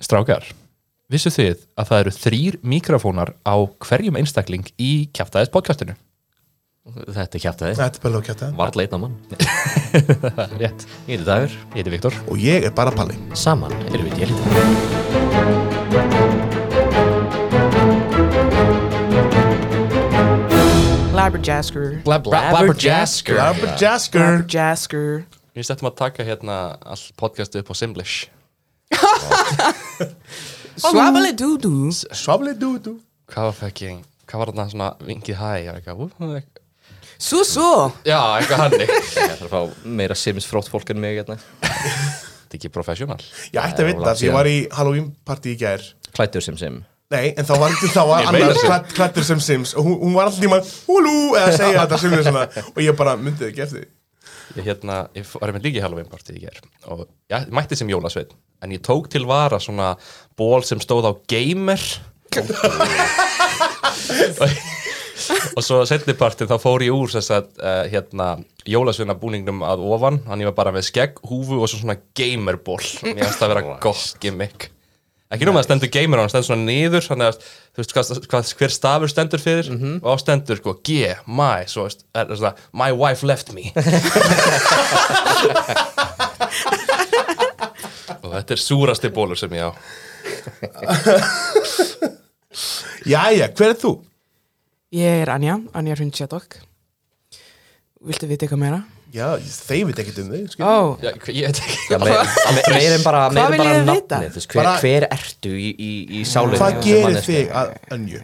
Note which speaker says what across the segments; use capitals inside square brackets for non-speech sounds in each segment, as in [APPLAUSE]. Speaker 1: Strákar, vissu þið að það eru þrýr mikrofónar á hverjum einstakling í kjaftaðis podcastinu?
Speaker 2: Þetta er kjæftæði,
Speaker 3: Þetta er bara lókjátt
Speaker 2: varð leitna mann
Speaker 1: Rétt,
Speaker 2: Ég er dagur,
Speaker 1: ég heiti Viktor
Speaker 3: Og ég er bara Palli
Speaker 2: saman erum við délita
Speaker 4: Blabberjasker
Speaker 1: Blab,
Speaker 2: Blabberjasker.
Speaker 3: Blabberjasker
Speaker 4: Blabberjasker
Speaker 1: Við settum að taka hérna all podcast upp á Simlish
Speaker 4: Swabbly doo doo
Speaker 3: Svabli dúdú
Speaker 1: Hvað var fækking, hvað var þarna svona vingið hæ og eitthvað, ú, eitthvað
Speaker 4: Sú sú
Speaker 1: Já, eitthvað hannig
Speaker 2: Ég þarf að fá meira Sims frótt fólk en mig hérna
Speaker 1: Þetta er ekki professional
Speaker 3: Ég ætti að
Speaker 2: Það er
Speaker 3: vita
Speaker 2: langt
Speaker 3: því ég
Speaker 2: síðan.
Speaker 3: var í Halloween party í gær
Speaker 2: Klættur Sim Sim
Speaker 3: Nei, en þá var ekki þá var
Speaker 1: Ég meina
Speaker 3: annar
Speaker 1: sem.
Speaker 3: klætt- klættur sem Sims og hún, hún var alltaf tíma húlú eða segja þetta sem við svona og ég bara myndið ekki eftir því.
Speaker 1: Ég hérna, ég var með líki Halloween party í ger og ég mætti sem jólasveit en ég tók til vara svona ból sem stóð á gamer og, og svo setni partin þá fór ég úr þess að uh, hérna, jólasveina búningnum að ofan hann ég var bara með skegg, húfu og svo svona gamerból og mér finnst það að vera gott gimmick ekki nú með að stendur gamer á hann stendur svona niður þannig að þú veist hvað, hvað, hver stafur stendur fyrir og á stendur sko G, my, svo veist, er, er, svona, my wife left [LAUGHS] me og þetta er súrasti bólur sem ég á
Speaker 3: Jæja, hver er þú?
Speaker 4: Ég er Anja, Anja Rundsjadokk Viltu vita eitthvað meira?
Speaker 3: Já, þeir veit ekkert um þig, skil.
Speaker 4: Ó,
Speaker 1: Já, hva- ég veit ekki
Speaker 2: Já, meir, meir en bara, meir en
Speaker 4: Hvað viljið
Speaker 2: bara
Speaker 4: þið vita?
Speaker 2: nafnið þú veist, hver,
Speaker 3: Bara-
Speaker 2: hver ertu í, í, í sálinni
Speaker 3: Hvað gerir þig að önju?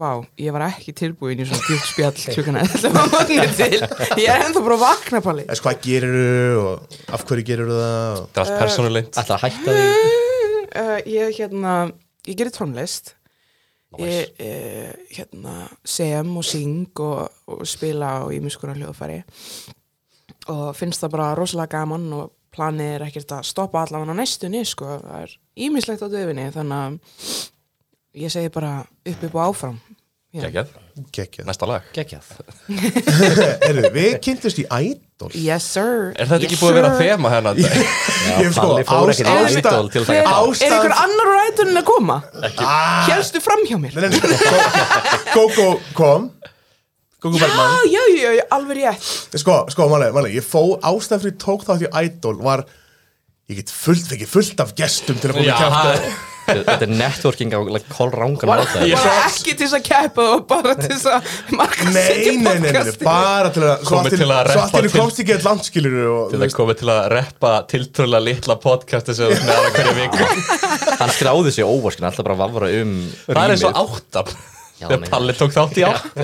Speaker 4: vá, ég var ekki tilbúin í svona djúpt spjall [LAUGHS] klukkan 11 að morgni til Ég er ennþá bara að vakna pali
Speaker 3: Þess, hvað gerir þú og af hverju gerir þú það? og-
Speaker 1: þetta er allt persónuleint
Speaker 2: Ætla að hætta þig
Speaker 4: uh, Ég hérna, ég gerir tónlist Ég uh, hérna sem og syng og, og spila og ýmis konar hljóðfæri og finnst það bara rosalega gaman og planið er ekkert að stoppa allavega á næstunni sko, það er ímislegt á döfinni þannig að ég segi bara upp upp og áfram Já.
Speaker 1: Gekkjað.
Speaker 3: Gekkjað.
Speaker 1: næsta lag
Speaker 2: Gekkjað
Speaker 3: Erðu, við kynntumst í Idol.
Speaker 4: Yes sir
Speaker 1: er þetta
Speaker 4: yes,
Speaker 1: ekki búið að vera
Speaker 4: sir.
Speaker 1: þema hérna
Speaker 3: Ég sko,
Speaker 2: Palli fór ekkert í
Speaker 3: ástæð-
Speaker 2: Idol til
Speaker 4: Er,
Speaker 2: það
Speaker 3: Ástæðan-
Speaker 4: er einhver annar úr ætunum að koma?
Speaker 3: Ah,
Speaker 4: Hélstu fram hjá mér?
Speaker 3: nei, nei, nei, Kókó Kókó kom. Kókó Bergman.
Speaker 4: Já, já, já, já, alveg rétt
Speaker 3: Sko, sko, málega, málega, ég fó ástæðan fyrir ég tók þátt í Idol var ég get fullt, fekk fullt af gestum til að koma í
Speaker 1: [LAUGHS]
Speaker 3: kæft
Speaker 2: Þetta er networking á like, kolrangan
Speaker 4: Var,
Speaker 2: máta
Speaker 4: var ekki til þess að keppa og bara til þess að marka
Speaker 3: Nei, nei, nei, nei, nei, bara til að
Speaker 1: Komið til að
Speaker 3: Svo
Speaker 1: reppa
Speaker 3: allt í hennu
Speaker 1: til-
Speaker 3: komst ekki að landskilur og
Speaker 1: til að koma til að reppa tiltrúlega litla podcasti sem þú ert með aðra hverju viku
Speaker 2: Hann skráði sig óvarskin, alltaf bara að vafra um
Speaker 1: [LAUGHS] það er eins
Speaker 2: rýmið.
Speaker 1: og áttan
Speaker 2: Já,
Speaker 1: þegar
Speaker 2: meinar.
Speaker 1: Palli tók þátt í átt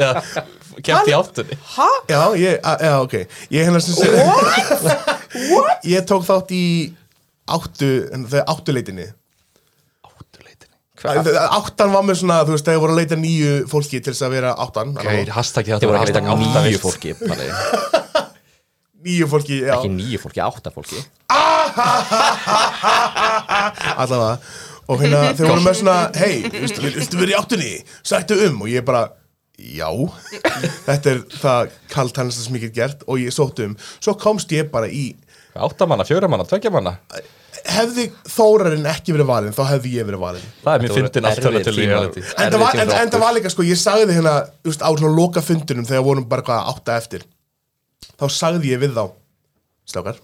Speaker 1: kemti í áttunni
Speaker 4: Hæ?
Speaker 3: Já, ég, a- já, ok Ég hennar sem segir
Speaker 4: What?
Speaker 3: Ég tók þátt í áttu, en þau áttuleitinni
Speaker 2: Hvað?
Speaker 3: Þa- Áttan var með svona, þú veist, þegar voru að leita nýju fólki til þess að vera áttan annað
Speaker 1: Geir,
Speaker 3: var-
Speaker 1: hashtaggi
Speaker 2: Þetta
Speaker 1: þetta var
Speaker 2: voru
Speaker 1: hashtag
Speaker 2: ekki nýju
Speaker 1: áttavilt
Speaker 2: fólki Palli.
Speaker 3: Nýju fólki, já,
Speaker 2: Ekki nýju fólki, átta fólki
Speaker 3: allavega Og hérna, þau voru með svona, hei, viltu vil- viltu vera í áttunni? Sættu um Og ég bara, já Þetta er það kalt hans sem ég get gert Og ég sótt um Svo komst ég bara í
Speaker 1: áttamanna, fjóramanna, tveggjamanna
Speaker 3: Hefði Þórarinn ekki verið valinn, þá hefði ég verið valinn
Speaker 1: það er mér
Speaker 2: Þetta voru
Speaker 1: fyndin aftur
Speaker 2: erfiðir
Speaker 1: til
Speaker 2: tímar.
Speaker 1: reality
Speaker 3: En
Speaker 2: Erfiðir
Speaker 3: það var,
Speaker 2: tímar
Speaker 3: en,
Speaker 2: fyrir
Speaker 3: en það
Speaker 2: okkur.
Speaker 3: var líka sko, ég sagði hérna þú veist, á svona loka fundunum þegar vorum bara hvað átta eftir þá sagði ég við þá slákar,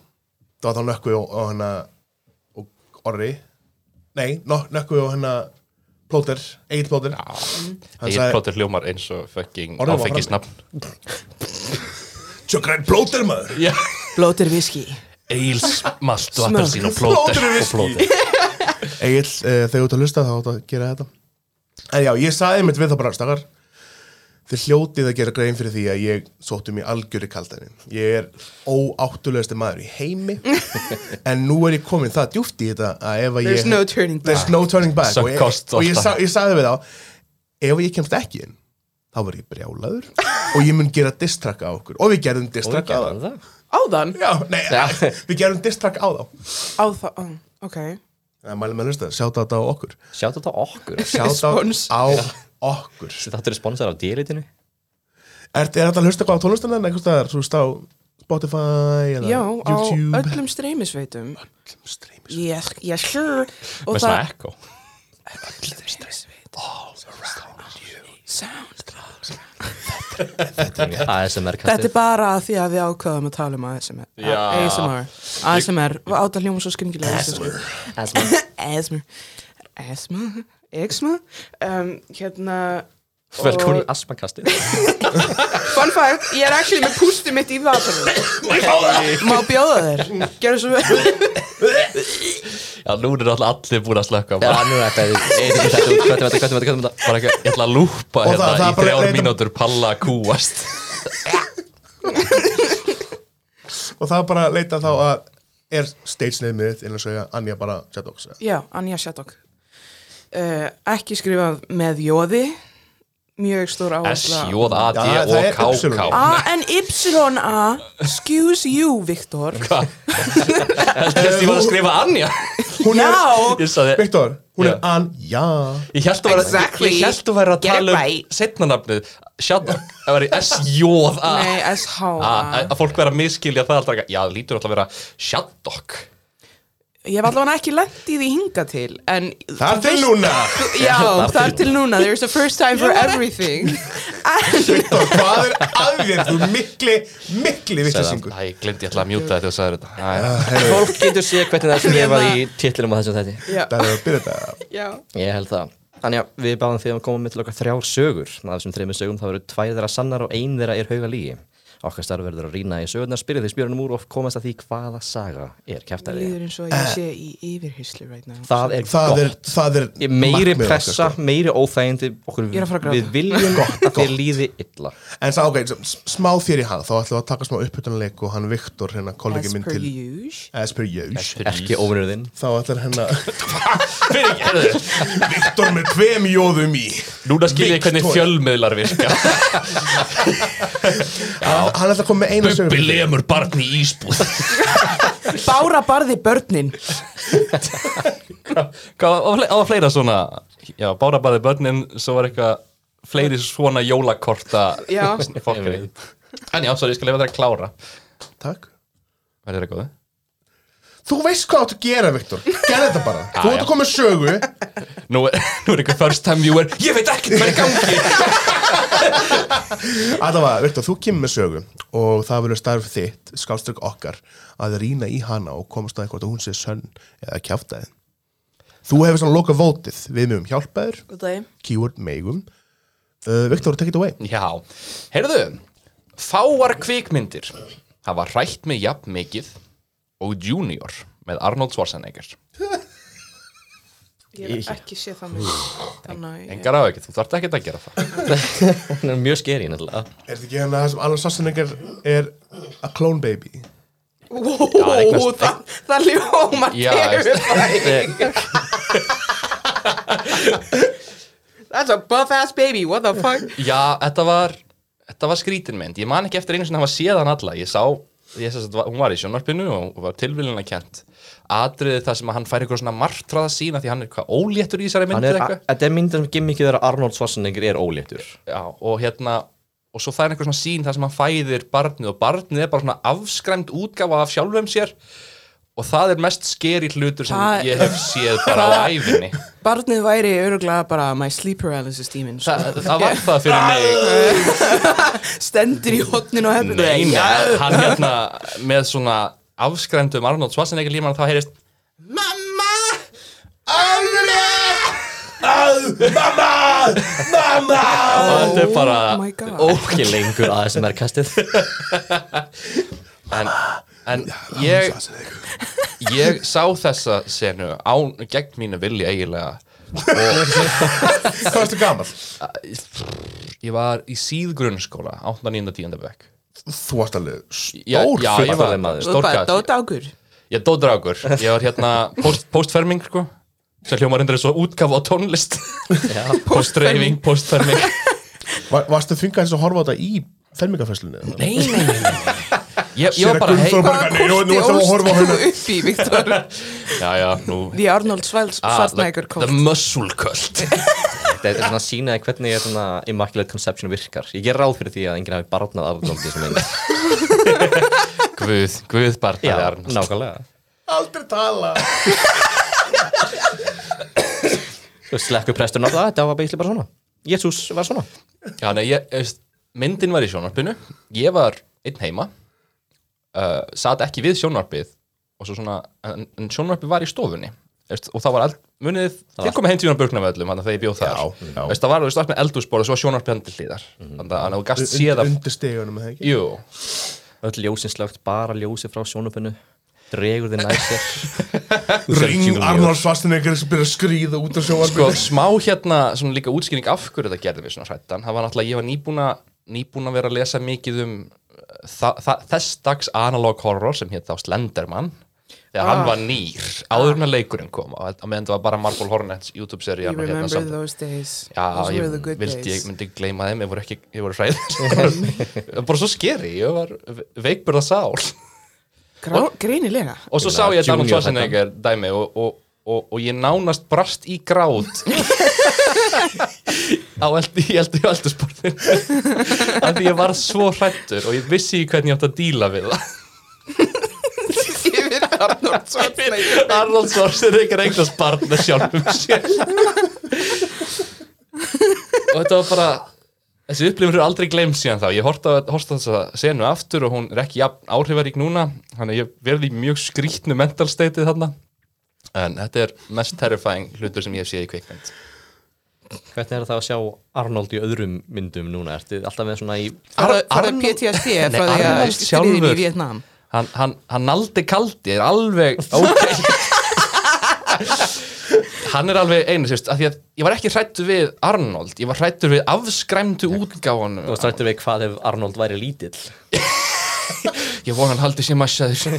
Speaker 3: það var þá nökkvi og, og hérna og orri nei, no, nökkvi og hérna plóter, eigin plóter hann
Speaker 1: Egil
Speaker 3: sagði,
Speaker 1: Plóter hljómar eins og fucking
Speaker 3: Orðið var
Speaker 1: áfengisnafn
Speaker 3: sjökræn plóter maður
Speaker 4: Blótir viski
Speaker 1: Egils malt og
Speaker 4: Smá.
Speaker 1: appelsín og Plóter
Speaker 3: Plóter er
Speaker 1: og Plóter
Speaker 3: [LAUGHS] Egil, uh, þegar þú ert að hlusta þá átt að gera þetta En já, ég sagði mitt við það bara stakar Þið hljótið að gera grein fyrir því að ég sótti um mér algjörri kaldænin Ég er óáttulegasti maður í heimi En nú er ég komin það djúft í þetta að ef að ég
Speaker 4: There's no turning back.
Speaker 3: There's no turning back
Speaker 1: Sunk
Speaker 3: Og, ég,
Speaker 1: cost
Speaker 3: og ég,
Speaker 1: ofta.
Speaker 3: sa, ég sagði við þá Ef ég kemst ekki inn þá verð ég brjálaður og ég mun gera distraka á okkur og við gerðum distraka á það
Speaker 2: Gerðu það?
Speaker 4: Áðan?
Speaker 3: Já, nei, [LAUGHS] við gerðum distraka á þá
Speaker 4: Á það, á, ok
Speaker 3: Mælum með að hlusta, sjáta þetta á
Speaker 4: [LAUGHS]
Speaker 3: okkur
Speaker 2: Sjátt þetta á okkur
Speaker 3: Shoutout
Speaker 4: Spons.
Speaker 3: á okkur
Speaker 2: Þetta er sponsor af dýrlitinu
Speaker 3: Er, er þetta að hlusta eitthvað á tónlistina en eitthvað staðar, þú veist á Spotify eða
Speaker 4: Já, á
Speaker 3: YouTube
Speaker 4: öllum streymisveitum
Speaker 3: öllum streymis
Speaker 4: Yes, yes, sure Og
Speaker 1: með svona ekko
Speaker 4: Öllum streymisveit Sound
Speaker 2: ASMR
Speaker 4: Þetta
Speaker 2: kastið
Speaker 4: er bara að því að við ákvaðum að tala um ASMR
Speaker 1: Já.
Speaker 4: ASMR ASMR, átta hljóma svo skringilega ASMR ASMR ASMR ASMR um, Hérna og-
Speaker 2: Velkomin í asma kastið
Speaker 4: Fun fact, ég er actually með pústið mitt í vatanum Má bjóða þér Gerðu svo vel
Speaker 1: Já, nú er alltaf allir búin að slökka
Speaker 2: Já,
Speaker 1: bara,
Speaker 2: nú er þetta Hvernig þetta, hvernig þetta, hvernig þetta, hvernig
Speaker 1: bara ekki, ég ætla að lúpa
Speaker 3: Og
Speaker 1: hérna
Speaker 3: það- það
Speaker 1: í
Speaker 3: bara-
Speaker 1: þrjár
Speaker 3: reyndum-
Speaker 1: mínútur palla að kúast
Speaker 3: og það er bara að leita þá að er stage nefnið mitt innan svo ég að Anja bara Shadows eða-
Speaker 4: Já, Anja Shadok uh, Ekki skrifað með jóði Mjög stór
Speaker 1: S,
Speaker 4: áhersla
Speaker 1: J, A, D
Speaker 3: Já, það
Speaker 1: og
Speaker 3: er
Speaker 1: K,
Speaker 3: upsilon.
Speaker 1: K
Speaker 4: A-N-Y-A Excuse you, Viktor
Speaker 1: Ég var að skrifa Anja
Speaker 3: hún er,
Speaker 4: Now
Speaker 1: Ég sagði,
Speaker 3: Viktor, hún
Speaker 1: Já.
Speaker 3: er Anja
Speaker 1: Ég held að vera
Speaker 4: Exactly.
Speaker 1: Ég held að vera að
Speaker 4: Get it
Speaker 1: tala um
Speaker 4: right.
Speaker 1: setna nafnið Shadda, það væri S-J-A
Speaker 4: Nei, ah.
Speaker 1: A,
Speaker 4: S-H-A
Speaker 1: Ah, Að fólk vera að miskilja það alltaf eitthvað, Já, það lítur alltaf að vera Shaddok
Speaker 4: Ég hef allavega ekki lent í því hinga til En
Speaker 3: þar til
Speaker 4: Veist-
Speaker 3: núna
Speaker 4: Já, þar til núna There's a first time for
Speaker 1: [LAUGHS]
Speaker 4: everything
Speaker 3: Viktor, hvað er að þér, þú er mikli mikli vittlisingur
Speaker 1: Æ, gleymdi ég ætla að mjúta þetta og sagði þetta Æ,
Speaker 2: Fólk getur séð hvernig það er skrifað í titlinum á þessum þetta
Speaker 4: Já,
Speaker 3: það er að byrja þetta
Speaker 4: já
Speaker 2: Ég held það Þannig að við báðum því að koma með til okkar þrjár sögur af þessum þreymur sögum það verður tvær þeirra sannar og ein þeirra er hauga lígi Okkar starf verður að rýna í sögurnar, spyrja því spjörunum úr og komast að því hvaða saga er kæftari
Speaker 4: Líður eins og ég sé í yfirhyslu right now
Speaker 2: Það er
Speaker 3: það er,
Speaker 2: gott
Speaker 3: það er
Speaker 2: Ég meiri
Speaker 3: markmið okkar,
Speaker 2: pressa,
Speaker 3: sko.
Speaker 2: meiri óþægindi okkur,
Speaker 4: Ég er að fara að gráta.
Speaker 2: Við viljum gott að þér líði illa
Speaker 3: en sá, ok, s- smá þér í hann þá ætlum við að taka smá upphutunleik og hann Viktor hérna kollegi
Speaker 4: As
Speaker 3: minn
Speaker 4: per
Speaker 3: til
Speaker 4: usual
Speaker 3: as per use
Speaker 2: Erki óvinnurðinn
Speaker 3: þá ætlar hérna- henn að [LAUGHS] Viktor með tveim jóðum í
Speaker 1: Núna skil ég hvernig
Speaker 3: Victor.
Speaker 1: fjölmiðlar virka
Speaker 3: hann hann ætlar að koma með eina sögur
Speaker 1: Bubbi lemur barni í ísbúð
Speaker 4: Bára barði börnin
Speaker 1: Hvað á á að fleira svona Já, bára bæði börnin Svo var eitthvað fleiri svona jólakorta
Speaker 4: Já.
Speaker 1: fokkari En já, sorry, ég skal lefa þér að klára
Speaker 3: takk
Speaker 1: Verður það góði?
Speaker 3: Þú veist hvað áttu að gera, Viktor. Gerð þetta bara.
Speaker 1: Já,
Speaker 3: þú
Speaker 1: já.
Speaker 3: áttu að koma með sögu.
Speaker 1: Nú er, nú er eitthvað first time viewer Ég veit ekkert hvað er í gangi
Speaker 3: Allavega, Viktor, þú kemur með sögu og það verður starf þitt, skálstrykk okkar, að rýna í hana og komast að eitthvað að hún sé sönn eða kjáftæðin. Þú hefur svona loka vótið. Við mögum hjálpaður,
Speaker 4: Góðdæg
Speaker 3: keyword megum. Uh, Viktor, take it away.
Speaker 1: Já, heyrðu Fáar kvikmyndir hafa hrætt mig jafn mikið og Junior með Arnold Schwarzenegger
Speaker 4: Ég hef ekki séð það með Þannig að ég-
Speaker 1: Engar á ekki, þú þarft ekkert að gera það
Speaker 2: Hún er mjög skeri nefnilega
Speaker 3: Er þetta ekki hérna það sem Alan Sassenegger er a clone baby?
Speaker 1: það
Speaker 4: Ó,
Speaker 1: eignast-
Speaker 4: það- Það ljómar
Speaker 1: Já,
Speaker 4: terrifying. That's a buff ass baby, what the fuck
Speaker 1: Já, þetta var, þetta var skrítin mynd Ég man ekki eftir einu sinni að hafa séð hann alla Ég sá, ég sess að hún var í sjónvarpinu og var tilvílinna kent Atriði það sem að hann fær eitthvað svona martraða sína því hann er hvað óléttur í þessari mynd
Speaker 2: Hann er-
Speaker 1: eða eitthvað.
Speaker 2: Þetta er myndin sem gimmickið þegar Arnold Schwarzenegger er óléttur
Speaker 1: Já, og hérna og svo það er eitthvað svona sín þar sem hann fæðir barnið og barnið er bara svona afskræmt útgáfa af sjálfum sér og það er mest skeri hlutur sem
Speaker 4: Það-
Speaker 1: ég hef séð bara á æfinni
Speaker 4: Barnið væri öruglega bara my sleep paralysis demon sko.
Speaker 1: Þa, það
Speaker 2: [LAUGHS]
Speaker 1: var það fyrir mig
Speaker 4: Stendur í hotnin og hefnir
Speaker 1: Nei, nei, hann hérna með svona afskræmdum Arnold Schwarzenegger líman þá heyrist Mamma, Anna Mamma, Mamma Þetta er bara
Speaker 4: Oh my god.
Speaker 2: Ókei lengur ASMR kastið
Speaker 1: en, en ég, ég sá þessa senu á, gegn mínu vilja eiginlega
Speaker 3: Hvað varstu gammal?
Speaker 1: Ég var í síð grunnskóla 8. 9. 10. bekk
Speaker 3: Þú varst alveg
Speaker 1: Já,
Speaker 3: stór
Speaker 1: já, ég var
Speaker 2: fullorðinn maður.
Speaker 4: Þú er bara
Speaker 1: stórkall
Speaker 4: dótákur
Speaker 1: Ég dóðdragur, ég var hérna post, postferming sko sem hljómar endur svo útgafa á tónlist [LAUGHS] postreifing, postferming
Speaker 3: Var, varstu þungað þess að horfa á þetta í fermingafesslunni?
Speaker 1: Nei, nei, nei, nei Ég, ég
Speaker 3: Séra
Speaker 1: var bara
Speaker 3: Gunnþór
Speaker 1: heim
Speaker 3: bara-
Speaker 4: Hvaða
Speaker 3: Nei, nú- nú ætlum
Speaker 4: kosti
Speaker 3: við að horfa á
Speaker 4: óst þú
Speaker 3: hana.
Speaker 4: upp í, Viktor?
Speaker 1: Já, já, nú
Speaker 4: The Arnold Schwarz-
Speaker 1: Ah, the,
Speaker 4: Schwarzenegger
Speaker 1: the
Speaker 4: kost
Speaker 1: muscle
Speaker 2: [LAUGHS]
Speaker 1: cult
Speaker 2: Þetta er svona að sína þér hvernig er svona Immaculate Conception virkar Ég ger ráð fyrir því að enginn hafi barnað Arnold í þessum mynd
Speaker 1: Guð, Guð barnaði
Speaker 2: Já,
Speaker 1: Arnast
Speaker 2: nákvæmlega
Speaker 3: Aldrei tala
Speaker 2: Þú slekkur presturinn á það, þetta var beisli bara svona Jésús var svona
Speaker 1: Já, nei, ég, ég veist, myndin var í sjónvarpinu ég var einn heima uh, satt ekki við sjónvarpið og svo svona, en, en sjónvarpið var í stofunni veist, og það var eld, munið þið komið heim til Jónan Börgnavöllum þannig að þegar ég bjóð þar
Speaker 3: Já, já.
Speaker 1: Veist, það var, þú veist, allt með eldúsbor og svo var sjónvarpið hann til hlýðar
Speaker 2: Mhm.
Speaker 1: þannig að þú gast séð að
Speaker 3: Undir stegunum, eða ekki?
Speaker 1: Jú,
Speaker 2: Öll ljósin slögt, bara ljósi frá sjónupinu Dregur þið nær sér Þú sérð
Speaker 3: Ring
Speaker 2: Junior.
Speaker 3: Arnold Schwarzenegger sem byrjar að skrýða út á
Speaker 1: sko,
Speaker 3: sjóarbyrðu
Speaker 1: smá hérna svona líka útskýring af hverju þetta gerði mig svona hrættan það var náttúrulega, ég var nýbúna nýbúna að vera að lesa mikið um uh, þa- þa- þess dags analog horror sem hétt þá Slenderman þegar
Speaker 4: Ah.
Speaker 1: hann var nýr, áður en að leikurinn kom og á meðan það var bara Marble Hornets
Speaker 4: You
Speaker 1: YouTube-serían og
Speaker 4: remember
Speaker 1: hérna samt
Speaker 4: those days
Speaker 1: Já,
Speaker 4: Those were the
Speaker 1: ég
Speaker 4: good
Speaker 1: vildi, ég
Speaker 4: days
Speaker 1: myndi gleyma þeim, ég voru ekki, ég voru hræð
Speaker 4: [LAUGHS]
Speaker 1: bara svo skeri, ég var veikburða sál
Speaker 4: Grá, Greinilega
Speaker 1: og svo
Speaker 2: Ég
Speaker 1: sá
Speaker 2: meina,
Speaker 1: ég Donald
Speaker 2: Junior
Speaker 1: Schwarzenegger dæmi og, og, og, og ég nánast brast í grátt á eldi, í eldi, eldi sportin af því ég var svo hrættur og ég vissi ekki hvernig ég átt að díla við það
Speaker 4: Yfir Arnold Schwarzenegger
Speaker 1: Arnold Schwarzenegger eignast barn með sjálfum sér og þetta var bara þessi upplifur er aldrei glemt síðan þá ég horfði á horfði á þessa senu aftur og hún er ekki jafn áhrifarík núna þannig að ég verði í mjög skrítnu mental state þarna en þetta er mest terrifying hlutur sem ég hef séð í kvikmynd
Speaker 2: Hvernig er það að sjá Arnold í öðrum myndum núna? Ertu alltaf með svona í
Speaker 1: Ar-
Speaker 4: Farðu
Speaker 1: Arnold-
Speaker 4: PTSD frá
Speaker 1: Nei,
Speaker 4: því að
Speaker 1: Arnold
Speaker 4: stríðin í
Speaker 1: sjálfur.
Speaker 4: Vietnam
Speaker 1: hann, hann, hann naldi kaldi er alveg ok hann er alveg einu sérst, af því að ég var ekki hrættur við Arnold, ég var hrættur við afskræmdu útgáfanum
Speaker 2: Þú strættu við hvað ef Arnold væri lítill
Speaker 1: ég vona hann haldi sér massaður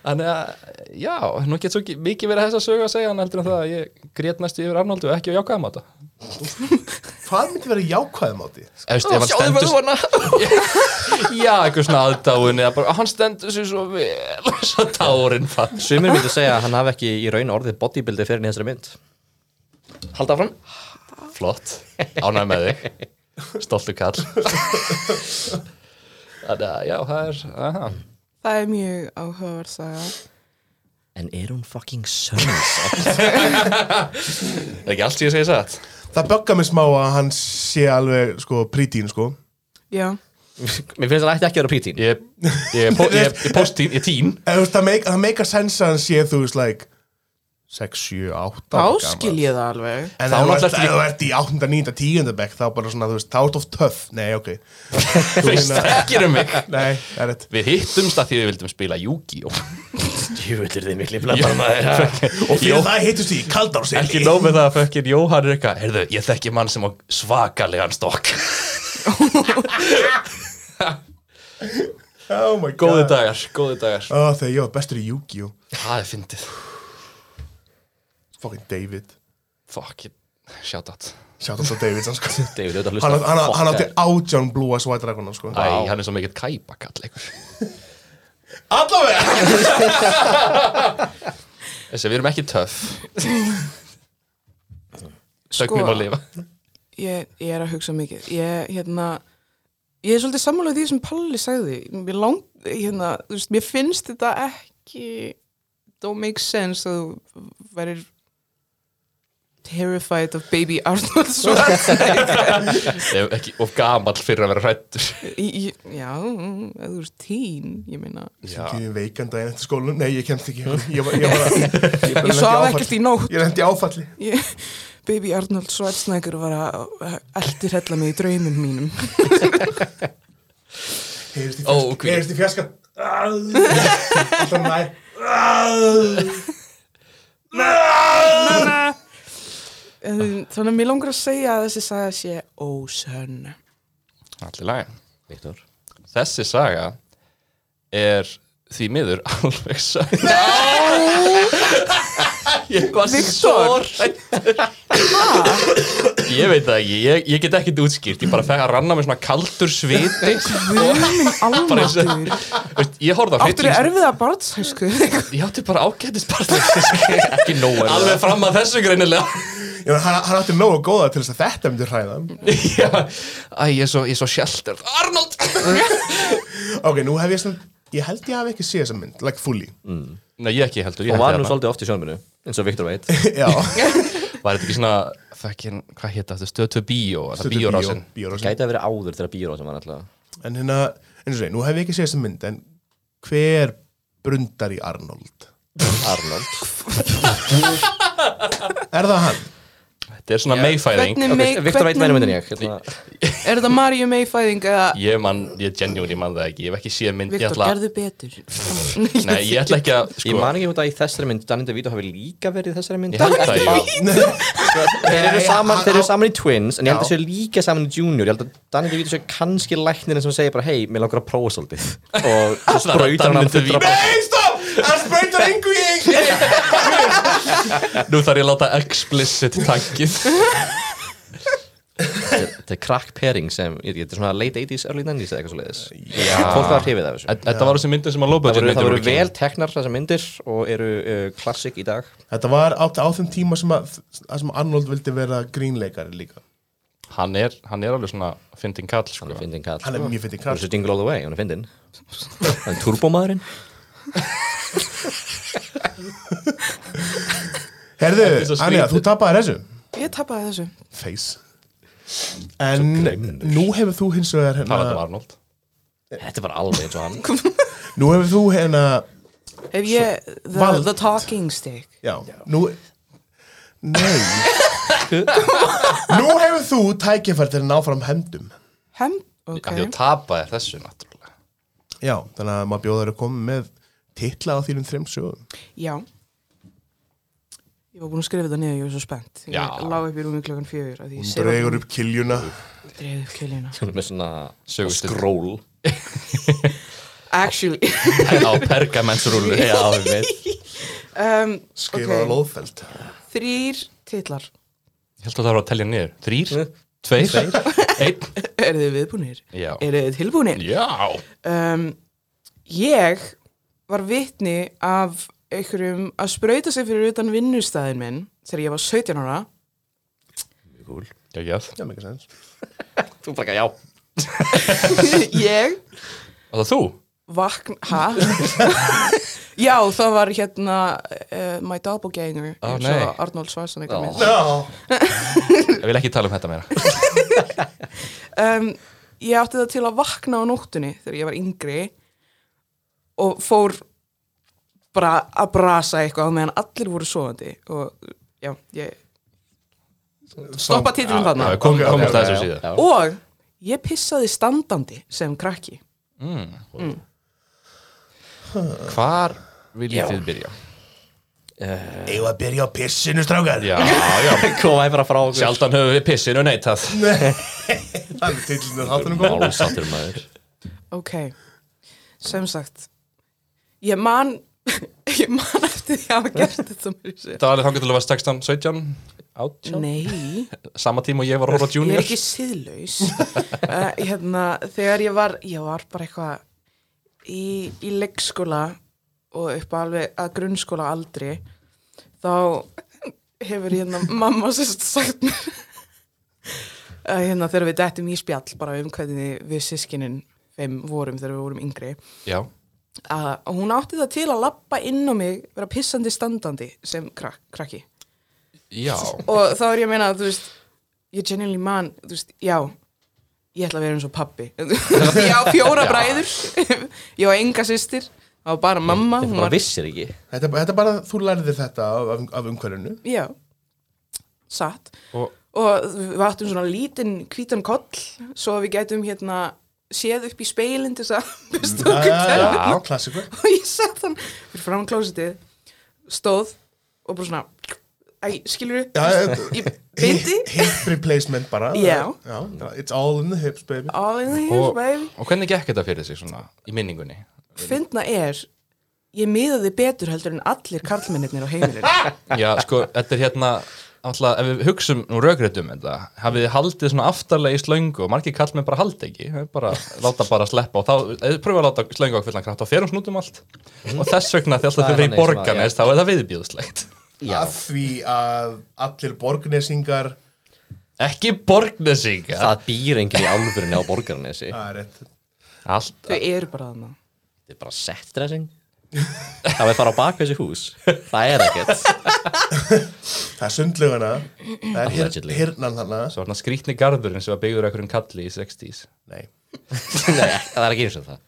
Speaker 1: þannig að já, nú getur svo ekki- mikið verið þess að sögu að segja hann heldur en það að ég grét næstu yfir Arnoldu og ekki á jákvæðum á þetta
Speaker 3: Hvað myndi vera jákvæðum á því?
Speaker 1: Ef veist, ef hann stendur
Speaker 4: svona
Speaker 1: já, eitthvað svona aðdáun eða bara, hann stendur sér svo vel [LAUGHS] og svo tárin fall
Speaker 2: Sumir myndu segja að hann hafi ekki í raun orðið bodybuildi fyrir nýjansri mynd Halda fram
Speaker 1: flott, ánæg með þig stoltu kall þannig að já, það er aha.
Speaker 4: Það er mjög áhugaverð saga
Speaker 2: En er hún fucking sönns?
Speaker 1: það er ekki allt sem ég segi satt
Speaker 3: Það böggar mig smá að hann sé alveg, sko, prítín, sko
Speaker 4: Já,
Speaker 2: [LAUGHS] Mér finnst hann ætti ekki að vera prítín
Speaker 1: ég, ég, po- ég, ég postín, ég tín
Speaker 3: En þú veist, það make- það meikar sens að hann sé, þú veist, like 6, 7, 8
Speaker 4: þá skil ég það alveg
Speaker 3: En
Speaker 1: Þá
Speaker 3: ef þú
Speaker 1: náttúrulega
Speaker 3: ert-
Speaker 1: ertu
Speaker 3: ef þú ert í 8, 9, 10 bekk þá bara svona, þú veist, þá ert of tough Nei, ok Þú
Speaker 1: veist
Speaker 3: meina-
Speaker 1: ekki um mig
Speaker 3: Nei, það er rétt
Speaker 1: Við hittumst að því við vildum spila Yu-Gi-Oh!
Speaker 2: Jöfnir þið mikli blabbar
Speaker 1: [LAUGHS]
Speaker 2: maður
Speaker 3: Og fyrir það hittust því í kaldárseli
Speaker 1: Ekki nóg með það að fökkir Jóhann er eitthvað Herðu, ég þekki mann sem á svakalegan [LAUGHS] stokk
Speaker 3: Oh my god
Speaker 1: Góði dagar, góði dagar
Speaker 3: Ó, Þegar ég var bestur í Yu-Gi-Oh
Speaker 1: Það er fyndið
Speaker 3: Fucking David
Speaker 1: Fuck, ég shout out
Speaker 3: Sjátt alltaf David, sann, sko
Speaker 2: David, auðvitað hlusta
Speaker 3: Hann, hann, hann, hann átti
Speaker 2: Fuck
Speaker 3: átján blúa White Dragona sko.
Speaker 1: Æ, hann er svo mikill kæpakall [LAUGHS] einhver.
Speaker 3: Allavega
Speaker 1: [LAUGHS] Þessi, við erum ekki töff Sögnum að lifa
Speaker 4: ég, ég er að hugsa mikið ég, hérna, ég er svolítið sammála því sem Palli sagði mér, lang, hérna, þú veist, mér finnst þetta ekki don't make sense að þú værir terrified of baby Arnold Schwarzenegger
Speaker 1: Ég er ekki of gamall fyrir að vera hrættur
Speaker 4: Í- í- já, mm, þú veist teen ég meina,
Speaker 3: Ég er veikan daginn eftir skólanum Nei, ég kemst ekki Ég, var- ég, var- ég, bara
Speaker 4: ég
Speaker 3: lenti í
Speaker 4: svaf
Speaker 3: áfalli.
Speaker 4: ekkert í nótt
Speaker 3: Ég lendi í áfalli
Speaker 4: ég, baby Arnold Schwarzenegger var að eldir hella mig í draumum mínum
Speaker 3: Heyrist í
Speaker 1: Ó,
Speaker 3: fjarskan
Speaker 1: ok.
Speaker 3: Heyrist í fjarskan Alltaf nær Alltaf
Speaker 4: Um, þannig að mér langar að segja að þessi saga sé ósönn
Speaker 1: Allir lagi
Speaker 2: Viktor
Speaker 1: Þessi saga er því miður [LAUGHS] alveg sönn Ég var svo
Speaker 4: Viktor.
Speaker 1: hrættur Ég veit það ekki, ég, ég get ekkert útskýrt Ég bara fekk að ranna með svona kaldur sviti
Speaker 4: Guð minn
Speaker 1: Bara eins og-
Speaker 4: almatur
Speaker 1: Veist, Ég horfði á
Speaker 4: Áttur er erfiða barnshæsku
Speaker 1: Ég átti bara ágætis barnleik Ekki nóg Alveg fram að þessu greinilega [LAUGHS]
Speaker 3: Ég meina, hann, hann átti nógu góða til þess að þetta myndi hræða hann.
Speaker 1: Mm. Já, æ, ég er svo, ég er svo shelter Arnold
Speaker 3: Ok, nú hef ég svona, ég held ég hafi ekki séð þessa mynd, like fully.
Speaker 1: Mm. Nei, ég ekki heldur, ég
Speaker 2: og var nú
Speaker 1: heldur hérna
Speaker 2: svolítið oft í sjónminu eins og Viktor veit
Speaker 3: [LAUGHS] Já.
Speaker 1: Var þetta ekki svona, fucking, hvað hétt þetta, stöð 2 bíó er það Bíórásin
Speaker 3: Bíórásin.
Speaker 2: gæti að vera áður þegar bíórásin var alltaf
Speaker 3: En hérna, eins og segja, nú hef ég ekki séð þessa mynd, en hver brundar í Arnold?
Speaker 2: Arnold
Speaker 3: Er það hann?
Speaker 1: Þetta er svona meifæðing
Speaker 4: Hvernig
Speaker 2: Vik-
Speaker 4: mei-
Speaker 2: Viktor veit
Speaker 1: um
Speaker 2: meira
Speaker 4: hvernig-
Speaker 2: myndin ég hérna.
Speaker 4: Er þetta Maríu meifæðing eða
Speaker 1: Ég mann, ég genuinely mann það ekki Ég hef ekki séð mynd, ég
Speaker 4: Viktor,
Speaker 1: ætla
Speaker 4: gerðu betur
Speaker 1: Nei,
Speaker 4: [LAUGHS]
Speaker 1: ég ætla ekki að,
Speaker 2: ég
Speaker 1: sko
Speaker 2: man ekki hvort að í þessari mynd Danny DeVito hafi líka verið í þessari mynd
Speaker 1: Ég held það, jú.
Speaker 2: þeir eru
Speaker 3: Nei,
Speaker 2: saman,
Speaker 3: hann-
Speaker 2: þeir eru saman í Twins en ég held
Speaker 3: Já.
Speaker 2: að séu líka saman í Junior ég held að Danny DeVito séu kannski læknirinn sem segir bara hei, mér langar að prófa svolítið [LAUGHS] og svo
Speaker 1: Þannig
Speaker 2: spröytar
Speaker 1: að
Speaker 2: hann
Speaker 1: Danny
Speaker 2: að fullra
Speaker 1: DeVito-
Speaker 3: Nei, stopp! Hann spreytur engu í engu!
Speaker 1: Nú þarf ég að láta explicit tankið
Speaker 2: þetta er crack pairing sem ég veit, þetta er svona late 80s, early 90s eða eitthvað svoleiðis fólk var hrifið af þessu
Speaker 1: Þetta var þessi myndin sem að lópa
Speaker 2: það voru, það voru vel teknar þessar myndir og eru uh, klassik í dag
Speaker 3: Þetta var á, á þeim tíma sem, að, að sem Arnold vildi vera grínleikari líka.
Speaker 1: Hann [LAUGHS] er, hann er alveg svona fyndin kall sko.
Speaker 2: hann er fyndin kall
Speaker 3: Hann er mjög fyrir
Speaker 2: hann
Speaker 3: kall.
Speaker 2: er dingle all the way, hann er fyndin hann er turbomaðurinn
Speaker 3: Herðu,
Speaker 1: Þetta er svo
Speaker 3: Anja,
Speaker 1: skrítið.
Speaker 3: þú tapaði þessu.
Speaker 4: Ég tapaði þessu
Speaker 3: Face. En nú hefur þú hins vegar
Speaker 1: Talandi um
Speaker 3: hérna,
Speaker 1: Arnold
Speaker 2: þetta var alveg eins og hann
Speaker 3: nú hefur þú hérna,
Speaker 4: Ef ég, the,
Speaker 3: Vald.
Speaker 4: the talking stick
Speaker 3: já, nú, nei, nú hefur þú tækifært til að ná fram hemdum.
Speaker 4: Hem, ok
Speaker 1: okay. Því að tapa er þessu náttúrulega
Speaker 3: Já, þannig að maður bjóður að koma með titla á þínum þreim sögum.
Speaker 4: Já Ég var búin að skrifa þetta niður, ég var svo spennt Ég
Speaker 1: Já.
Speaker 4: lá upp í rúmi klokkan fjögur af því
Speaker 3: Hún
Speaker 4: ég sef-
Speaker 3: dregur upp kiljuna.
Speaker 4: Dreif upp kjölina
Speaker 2: hann er með svona
Speaker 1: Sögustutt.
Speaker 2: skról
Speaker 4: Actually [LAUGHS]
Speaker 1: Á [LAUGHS] pergamensrúlu
Speaker 2: já, ég veit
Speaker 4: um,
Speaker 3: Skrifaða
Speaker 4: ok.
Speaker 3: lóðfeld.
Speaker 4: Þrýr titlar
Speaker 1: Ég held að það var að telja niður Þrýr, tveir, einn
Speaker 4: Eru þið viðbúnir?
Speaker 1: Já.
Speaker 4: Eru þið tilbúnir?
Speaker 1: Já
Speaker 4: um, ég var vitni af einhverjum að sprauta sig fyrir utan vinnustæðin minn þegar ég var 17 ára
Speaker 1: Já, já
Speaker 3: Já, mikið sens.
Speaker 2: þú bara já
Speaker 4: ég
Speaker 1: Og það þú?
Speaker 4: vakn, ha? [LAUGHS] já, það var hérna uh, My Doppelganger
Speaker 1: Ó,
Speaker 4: eins
Speaker 1: nei.
Speaker 4: og Arnold Schwarzenegger
Speaker 2: Ó.
Speaker 4: mynd.
Speaker 1: Ég vil ekki tala um þetta meira
Speaker 4: um, ég átti það til að vakna á nóttunni þegar ég var yngri og fór bara að brasa eitthvað á meðan allir voru svoandi og já, ég stoppa titlum þarna
Speaker 1: Já,
Speaker 3: Ok,
Speaker 1: kom,
Speaker 3: ok,
Speaker 1: Komist að
Speaker 3: ok,
Speaker 1: þessu
Speaker 3: já.
Speaker 1: síðan
Speaker 4: og ég pissaði standandi sem krakki
Speaker 1: Hvar viljið þið byrja?
Speaker 3: Eigum við að byrja á pissinu, strákar?
Speaker 1: Já, já [LAUGHS]
Speaker 2: komaði bara frá okkur
Speaker 1: Sjaldan höfum við pissinu neitað
Speaker 3: Það er titlinu þáttunum góð.
Speaker 2: málsattur [LAUGHS] maður
Speaker 4: ok, sem sagt ég man [LAUGHS] ég man eftir því að hafa gert þetta mér í sér
Speaker 1: Það var alveg þangar til að vera 16, 17 18
Speaker 4: nei
Speaker 1: Sama tíma og ég var Rora
Speaker 4: ég
Speaker 1: Junior
Speaker 4: er ekki siðlaus uh, hérna, þegar ég var ég var bara eitthvað í, í leikskóla og upp alveg að grunnskóla aldri þá hefur hérna mamma sérst sagt mér [LAUGHS] að hérna þegar við dettum í spjall bara um hvernig við sískinin þeim vorum þegar við vorum yngri
Speaker 1: Já
Speaker 4: að hún átti það til að lappa inn á mig vera pissandi standandi sem krak, krakki
Speaker 1: Já
Speaker 4: og þá er ég að meina þú veist, ég genuinely man þú veist, já, ég ætla að vera eins og pappi [LAUGHS] ég á fjóra
Speaker 1: Já.
Speaker 4: bræður [LAUGHS] ég á enga systir á bara mamma
Speaker 2: þetta
Speaker 4: hún
Speaker 2: bara
Speaker 4: var,
Speaker 2: vissir ekki
Speaker 3: Þetta þetta er bara, þú lærðir þetta af, af, af umhverfinu.
Speaker 4: já, satt
Speaker 1: Og
Speaker 4: og við áttum svona lítinn hvítan koll svo að við gætum hérna séð upp í speilin til þess að [LAUGHS] bestu okkur
Speaker 3: Já,
Speaker 4: tennur
Speaker 3: Ah, já, klassikur.
Speaker 4: og ég sett hann fyrir fram klósitið stóð og bara svona æ, skilur
Speaker 3: Já,
Speaker 4: ég byndi
Speaker 3: hip replacement bara
Speaker 4: Já.
Speaker 3: já, It's all in the hips baby
Speaker 4: all in the
Speaker 1: Og-
Speaker 4: hills baby
Speaker 1: Og hvernig gekk þetta fyrir sig svona í minningunni?
Speaker 4: finna er ég miðaði betur heldur en allir karlmennirnir á heimilinu
Speaker 1: Já, sko, þetta er hérna Alltaf, ef við hugsum nú rökréttum þetta, hafið þið haldið svona aftarlega í slöngu og margir kall með bara hald ekki, það er bara láta bara sleppa og þá, eða pröfa að láta slöngu á fullan kraft og þeir um snútum allt og þess vegna þegar
Speaker 2: Það
Speaker 1: alltaf
Speaker 2: er
Speaker 1: þau verið í
Speaker 2: þannig sem að-
Speaker 1: borganes þá er það viðbjóðslegt.
Speaker 2: Já.
Speaker 3: að því að allir borgnesingar
Speaker 1: Ekki borgnesinga
Speaker 2: Það býr enginn í álfurinn á borgarnesi
Speaker 3: Það er rétt
Speaker 1: Allt
Speaker 4: Þau eru bara þarna
Speaker 2: Þetta er bara set dressing Það við fara á bak við þessi hús Það er ekkert [LAUGHS]
Speaker 3: Það er sundlaugana Það er hir-
Speaker 2: Allegedly.
Speaker 3: hirnan þarna
Speaker 1: Svo var hann skrýtni garðurinn sem var byggður af einhverjum kalli í 60s
Speaker 3: Nei
Speaker 2: Nei, það er ekki eins og það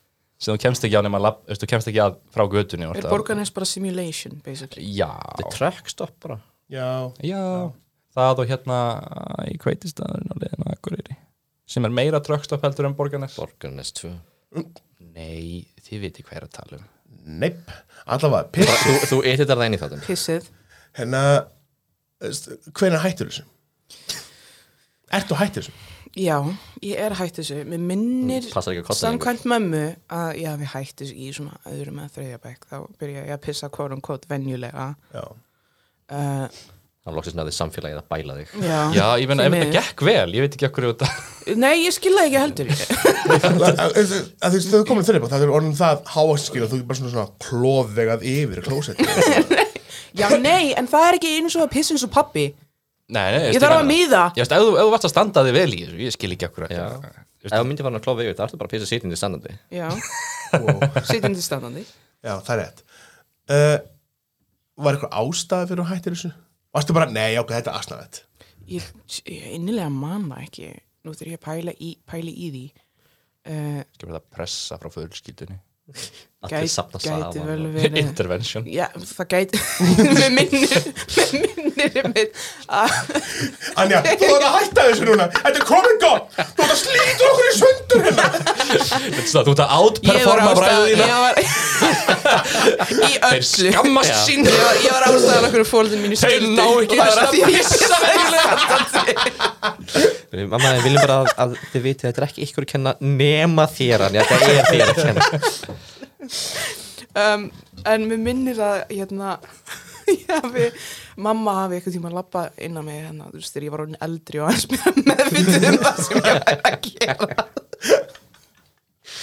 Speaker 1: sem þú kemst ekki á nema lab, veist, þú kemst ekki að frá götunni og
Speaker 4: Er
Speaker 1: þetta-
Speaker 4: borgarnes bara simulation, basically
Speaker 1: Já,
Speaker 2: Þetta er truck stop bara
Speaker 3: Já
Speaker 1: já Það og hérna í kveitistæðurinn og leiðin á Akureyri sem er meira trökkstopp heldur en borgarnes
Speaker 2: Borgarnes 2
Speaker 1: Nei, þið viti hvað ég er að tala um
Speaker 3: Neip Allavega Pitt
Speaker 2: Þú, þú editar það inn í þáttum
Speaker 4: Pissið
Speaker 3: Hérna Hvenær hættur þessu? Ertu hættur þessu?
Speaker 4: Já, ég er hætt þessu Mér minnir
Speaker 2: Passar ekki að kotta lengur
Speaker 4: samkvæmt mömmu að já, við hættum í svona öðrum að þriðja bekk þá byrja ég að pissa kvórum kvót venjulega
Speaker 3: Já
Speaker 4: uh,
Speaker 2: Hann loksist náði samfélagið að bæla þig
Speaker 4: Já,
Speaker 1: Já, ég meina, ef
Speaker 4: því
Speaker 1: þetta
Speaker 4: miður.
Speaker 1: gekk vel, ég veit ekki okkur þetta
Speaker 4: Nei, ég skilða ekki heldur
Speaker 3: Að- að- að- að Þú veist, þau komið þurri bara Það er orðin það háaksskil Þú er bara svona svona klóðvegað yfir klósett
Speaker 2: [LAUGHS]
Speaker 4: Já, nei, en það er ekki eins og að pissa eins og pappi
Speaker 1: Nei, nei,
Speaker 4: Ég þarf að miða
Speaker 1: Já, veist, ef þú, ef þú vart að standa þig vel í þessu, ég skil ekki okkur
Speaker 2: Já.
Speaker 1: þetta
Speaker 2: Ef þú myndir fara að klófa yfir það ertu bara að pissa sitjandi standandi
Speaker 4: Já,
Speaker 3: Wow.
Speaker 4: sitjandi standandi
Speaker 3: Já, það er rétt uh, Var eitthvað ástæða fyrir að hættir þessu? Varstu bara, nei, ok, þetta er asnaðett
Speaker 4: Ég, ég innilega man það ekki Nú þurf ég að pæla í, pæla í því uh,
Speaker 1: Skal verða að pressa frá fjölskyldunni
Speaker 2: Allir
Speaker 4: gæti,
Speaker 2: safna
Speaker 4: gæti
Speaker 2: [LAUGHS]
Speaker 4: vel
Speaker 2: saman
Speaker 4: verið
Speaker 1: Intervention
Speaker 4: Já, það gæti [LAUGHS] Mér minnir Mér minnir einmitt að
Speaker 3: Anja, þú þarf að hætta þessu núna Þetta er komin gott Þú þarf að slíta okkur í sundur hérna
Speaker 1: Þetta er svona, Þú ert að
Speaker 4: Ég var
Speaker 1: outperforma
Speaker 4: ástæðan-
Speaker 1: bræðina
Speaker 4: ég var- [LAUGHS] Í
Speaker 1: Þeir
Speaker 4: öllu
Speaker 1: skammast
Speaker 2: Já.
Speaker 1: sín
Speaker 4: Ég var, ég var ástæðan okkur fólðin mínu
Speaker 1: Þeir ná ekki
Speaker 4: Það er
Speaker 1: að
Speaker 4: að því [LAUGHS] ég
Speaker 1: pissa
Speaker 2: Við- Mamma, við viljum bara að, að þið vitið að þetta er ekki ykkur að kenna nema þér hann, þetta er þér að kenna
Speaker 4: [LAUGHS] um, En mér minnir að hérna, [LAUGHS] ég hafi, mamma hafi eitthvað tíma að labba inn að mig hérna, þú veist, þegar ég var orðin eldri og hans [LAUGHS] mér meðvitið um það sem ég var að
Speaker 1: [LAUGHS]
Speaker 4: gera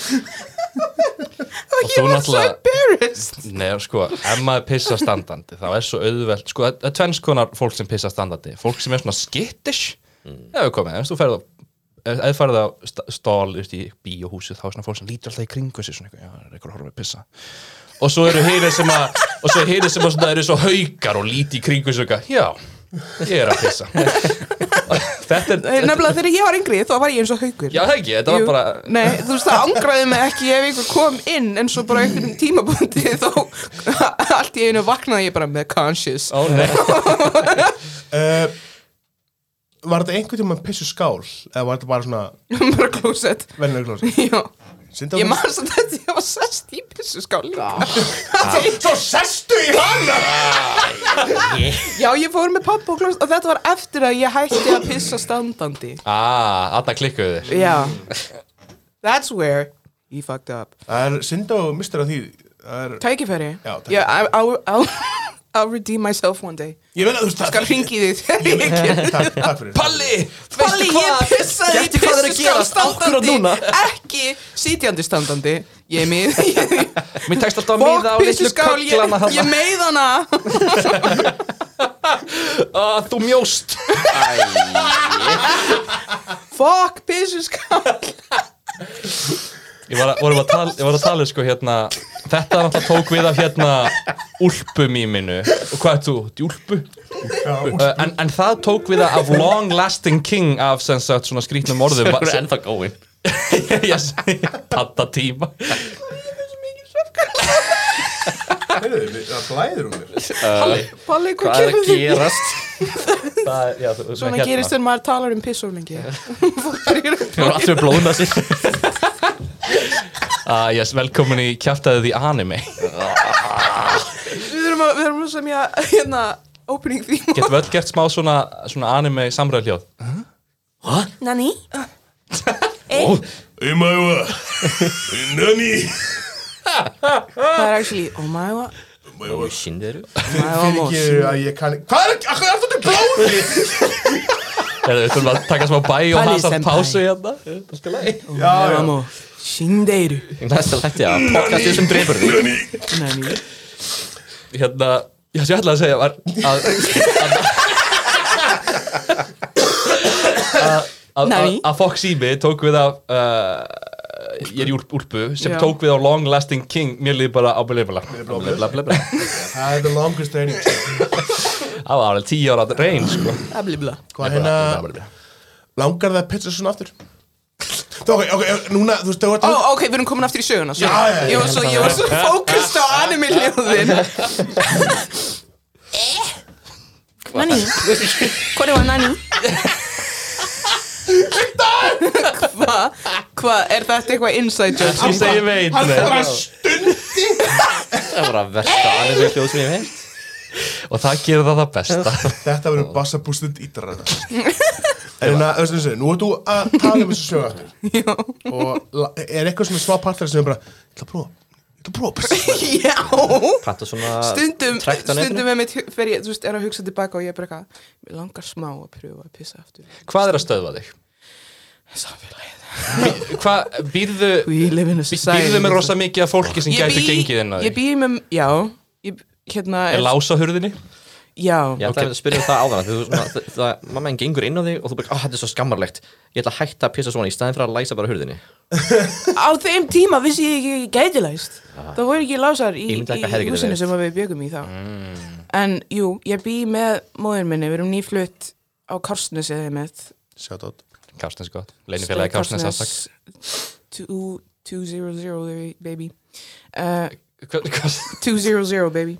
Speaker 1: Og
Speaker 4: Og ég
Speaker 1: þú
Speaker 4: var svo
Speaker 1: náttúrulega-
Speaker 4: embarrassed
Speaker 1: Nei, sko, ef maður pissa standandi þá er svo auðvelt, sko, það er tvenns konar fólk sem pissa standandi, fólk sem er svona skittish ef við komið, ef þú ferð á ef þú ferð á sta- stál þú veist, í bíóhúsi, þá er svona fólk sem lítur alltaf í kringu sig svona, eitthvað, já, það er eitthvað horfum að pissa og svo eru hinir sem að og svo eru hinir sem að svona eru svo haukar og líti í kringu sig, og eitthvað, já, ég er að pissa þetta er
Speaker 4: Nei, Nefnilega þegar ég var yngri, þá var ég eins og haukur
Speaker 1: já, það ekki, þetta var
Speaker 4: Jú.
Speaker 1: bara
Speaker 4: Nei, þú veist það angraði mig ekki ef einhver kom inn en svo bara einhvern tímabundi [LAUGHS] þá allt í einu vaknaði ég bara með conscious
Speaker 1: ó nei,
Speaker 3: uh, Var þetta einhvern tímann pissu skál? Eða var þetta bara svona
Speaker 4: [LAUGHS] bara klósett
Speaker 3: vennilega klósi?
Speaker 4: Já,
Speaker 3: Sýndu
Speaker 4: ég
Speaker 3: okkur
Speaker 4: man samt að ég var sest í pissuskál [LAUGHS]
Speaker 3: Svo sestu í hana
Speaker 4: Já, ég fór með pappa og klósett og þetta var eftir að ég hætti að pissa standandi
Speaker 3: Ah.
Speaker 1: aaa, aðna "Ah, klikkuðu þér
Speaker 4: Já That's where you fucked up
Speaker 3: Það er Sýndu og mistur af því Það
Speaker 4: [LAUGHS]
Speaker 3: er,
Speaker 4: Tækifæri
Speaker 3: Já, tækifæri.
Speaker 4: Yeah, I, I'll, I'll, [LAUGHS] I'll redeem myself one day
Speaker 3: Ég veit að þú veist það-
Speaker 4: Skal ringi þig [LAUGHS] þegar ég kem
Speaker 3: Takk, takk fyrir
Speaker 1: Palli,
Speaker 4: Palli, ég pissaði í
Speaker 2: Gæti hvað er að
Speaker 4: pissuskál
Speaker 2: gerast? Akkúrat núna.
Speaker 4: standandi Ekki sitjandi standandi Ég mið
Speaker 1: [LAUGHS] mér tekst alltaf að
Speaker 4: Bók
Speaker 1: miða á litlu
Speaker 4: pissuskál, ég,
Speaker 1: köglana þarna.
Speaker 4: ég meið hana
Speaker 1: [LAUGHS] að Ah, þú mjóst
Speaker 4: Fuck pissuskál
Speaker 1: ég var, að, vorum að tala, ég var að tala sko hérna þetta náttúrulega tók við af hérna úlpum í minu og hvað er þú? Þetta er úlpu?
Speaker 3: Já,
Speaker 4: Eh.
Speaker 1: Uh, en, en það tók við af long lasting king af sem sagt svona skrítnum orðum
Speaker 2: Þú er ennþá góin
Speaker 1: [LAUGHS] yes, patta tíma
Speaker 3: heyrðu, við- það blæðir um mér
Speaker 4: Palli, hvað
Speaker 2: Hvað er
Speaker 4: kemur
Speaker 2: að
Speaker 4: þig?
Speaker 2: gerast?
Speaker 1: það, já, þú- hérna,
Speaker 4: Svona gerist þegar maður talar um piss of lengi
Speaker 2: Þú er alltaf blóðna sér
Speaker 1: Ah, yes, velkomin í kjæftæðið í anime
Speaker 4: Við erum að, við erum að semja hérna opening theme
Speaker 1: getum við öll gert smá svona, svona anime samræðljóð
Speaker 4: Nani?
Speaker 3: Umæva Nani
Speaker 4: Það er actually oh Omaiwa
Speaker 2: Nú, síndir
Speaker 4: Omaiwa
Speaker 3: Fyrir
Speaker 4: mos
Speaker 3: ekki að ég kann Hvað er Akkur er þetta blóði?
Speaker 1: eða við þurfum að taka smá bæ og
Speaker 4: Palli
Speaker 1: hasa
Speaker 4: senpai.
Speaker 1: pásu hérna það skal leið
Speaker 3: Já, já
Speaker 4: Omaiwa mo Shindeiru
Speaker 2: Næsta lætti að podcastið sem dreifur þig
Speaker 4: Nani
Speaker 1: hérna Já, sem ég ætlaði að segja var að að- að- að
Speaker 4: Nei.
Speaker 1: að Fox Ími tók við af uh, ég er í úlp, úlpu sem
Speaker 4: Já.
Speaker 1: tók við á Long Lasting King mér líði bara á blibla blibla
Speaker 3: Það er the longest training
Speaker 1: það var alveg tíu ára reyn sko
Speaker 4: Ablibla.
Speaker 3: Hvað hérna Langar það að pitcha svona aftur? Það ok, ok, núna, þú veist, þú ert
Speaker 4: Ó, ok, við erum komin aftur í söguna svo.
Speaker 3: Já, já, já,
Speaker 4: Ég var svo, ég var svo fókust á anime-ljóðin Eh? Nani Hvað er nani? Hvað? Hvað? Er þetta eitthvað inside joke?
Speaker 1: ég segi veit
Speaker 3: Hann
Speaker 1: nei.
Speaker 3: bara stundi
Speaker 2: Það var að versta anime hljóð sem ég hef heilt
Speaker 1: og það gerir það það besta
Speaker 3: Þetta verður bassabústund ídara En hérna, þú veist, þú veist, nú ert þú að tala um þessu sögu aftur
Speaker 4: Já
Speaker 3: Og la- er eitthvað svona smá partur sem er bara Ég ætla að prófa, ég ætla að prófa að pitcha."
Speaker 4: Já
Speaker 2: Panta svona
Speaker 4: Stundum,
Speaker 2: trekt á netinu.
Speaker 4: stundum með mitt fyrir ég, þú veist, er að hugsa tilbaka og ég er bara eitthvað Mér langar smá að pröfa að pissa aftur
Speaker 1: hvað er að stöðva þig?
Speaker 4: Samfélagið
Speaker 1: hvað býrðu
Speaker 4: We live in a society
Speaker 1: býrðu með rosa mikið af fólki sem
Speaker 4: Ég
Speaker 1: gæti
Speaker 4: bý-
Speaker 1: gengið inn á
Speaker 4: Ég
Speaker 1: þig?
Speaker 4: býð með, já ég, Hérna
Speaker 1: er lása hurðinni?
Speaker 4: Já,
Speaker 2: Ég ætlaði að spyrja um það áðan að þú, svona, það, það, mamma henn gengur inn á þig og þú bara, ah, þetta er svo skammarlegt Ég ætla að hætta að pissa svona í staðin fyrir að læsa bara hurðinni [LAUGHS]
Speaker 4: á þeim tíma vissi ég ekki að ég gæti læst
Speaker 1: Ah.
Speaker 4: það voru ekki lásar í,
Speaker 2: Ég
Speaker 4: í,
Speaker 2: myndi ekki að hefði
Speaker 4: í
Speaker 2: getað
Speaker 4: húsinu
Speaker 2: verið.
Speaker 4: sem að við bjögum í þá
Speaker 1: Mm.
Speaker 4: en jú, ég bý með móður minni, við erum nýflutt á Korsnes eða með
Speaker 3: Shout out
Speaker 1: Kárstens gott leinifélagi Kárstens aftak
Speaker 4: 200 baby uh,
Speaker 1: Hvað- hvað-
Speaker 4: 200 baby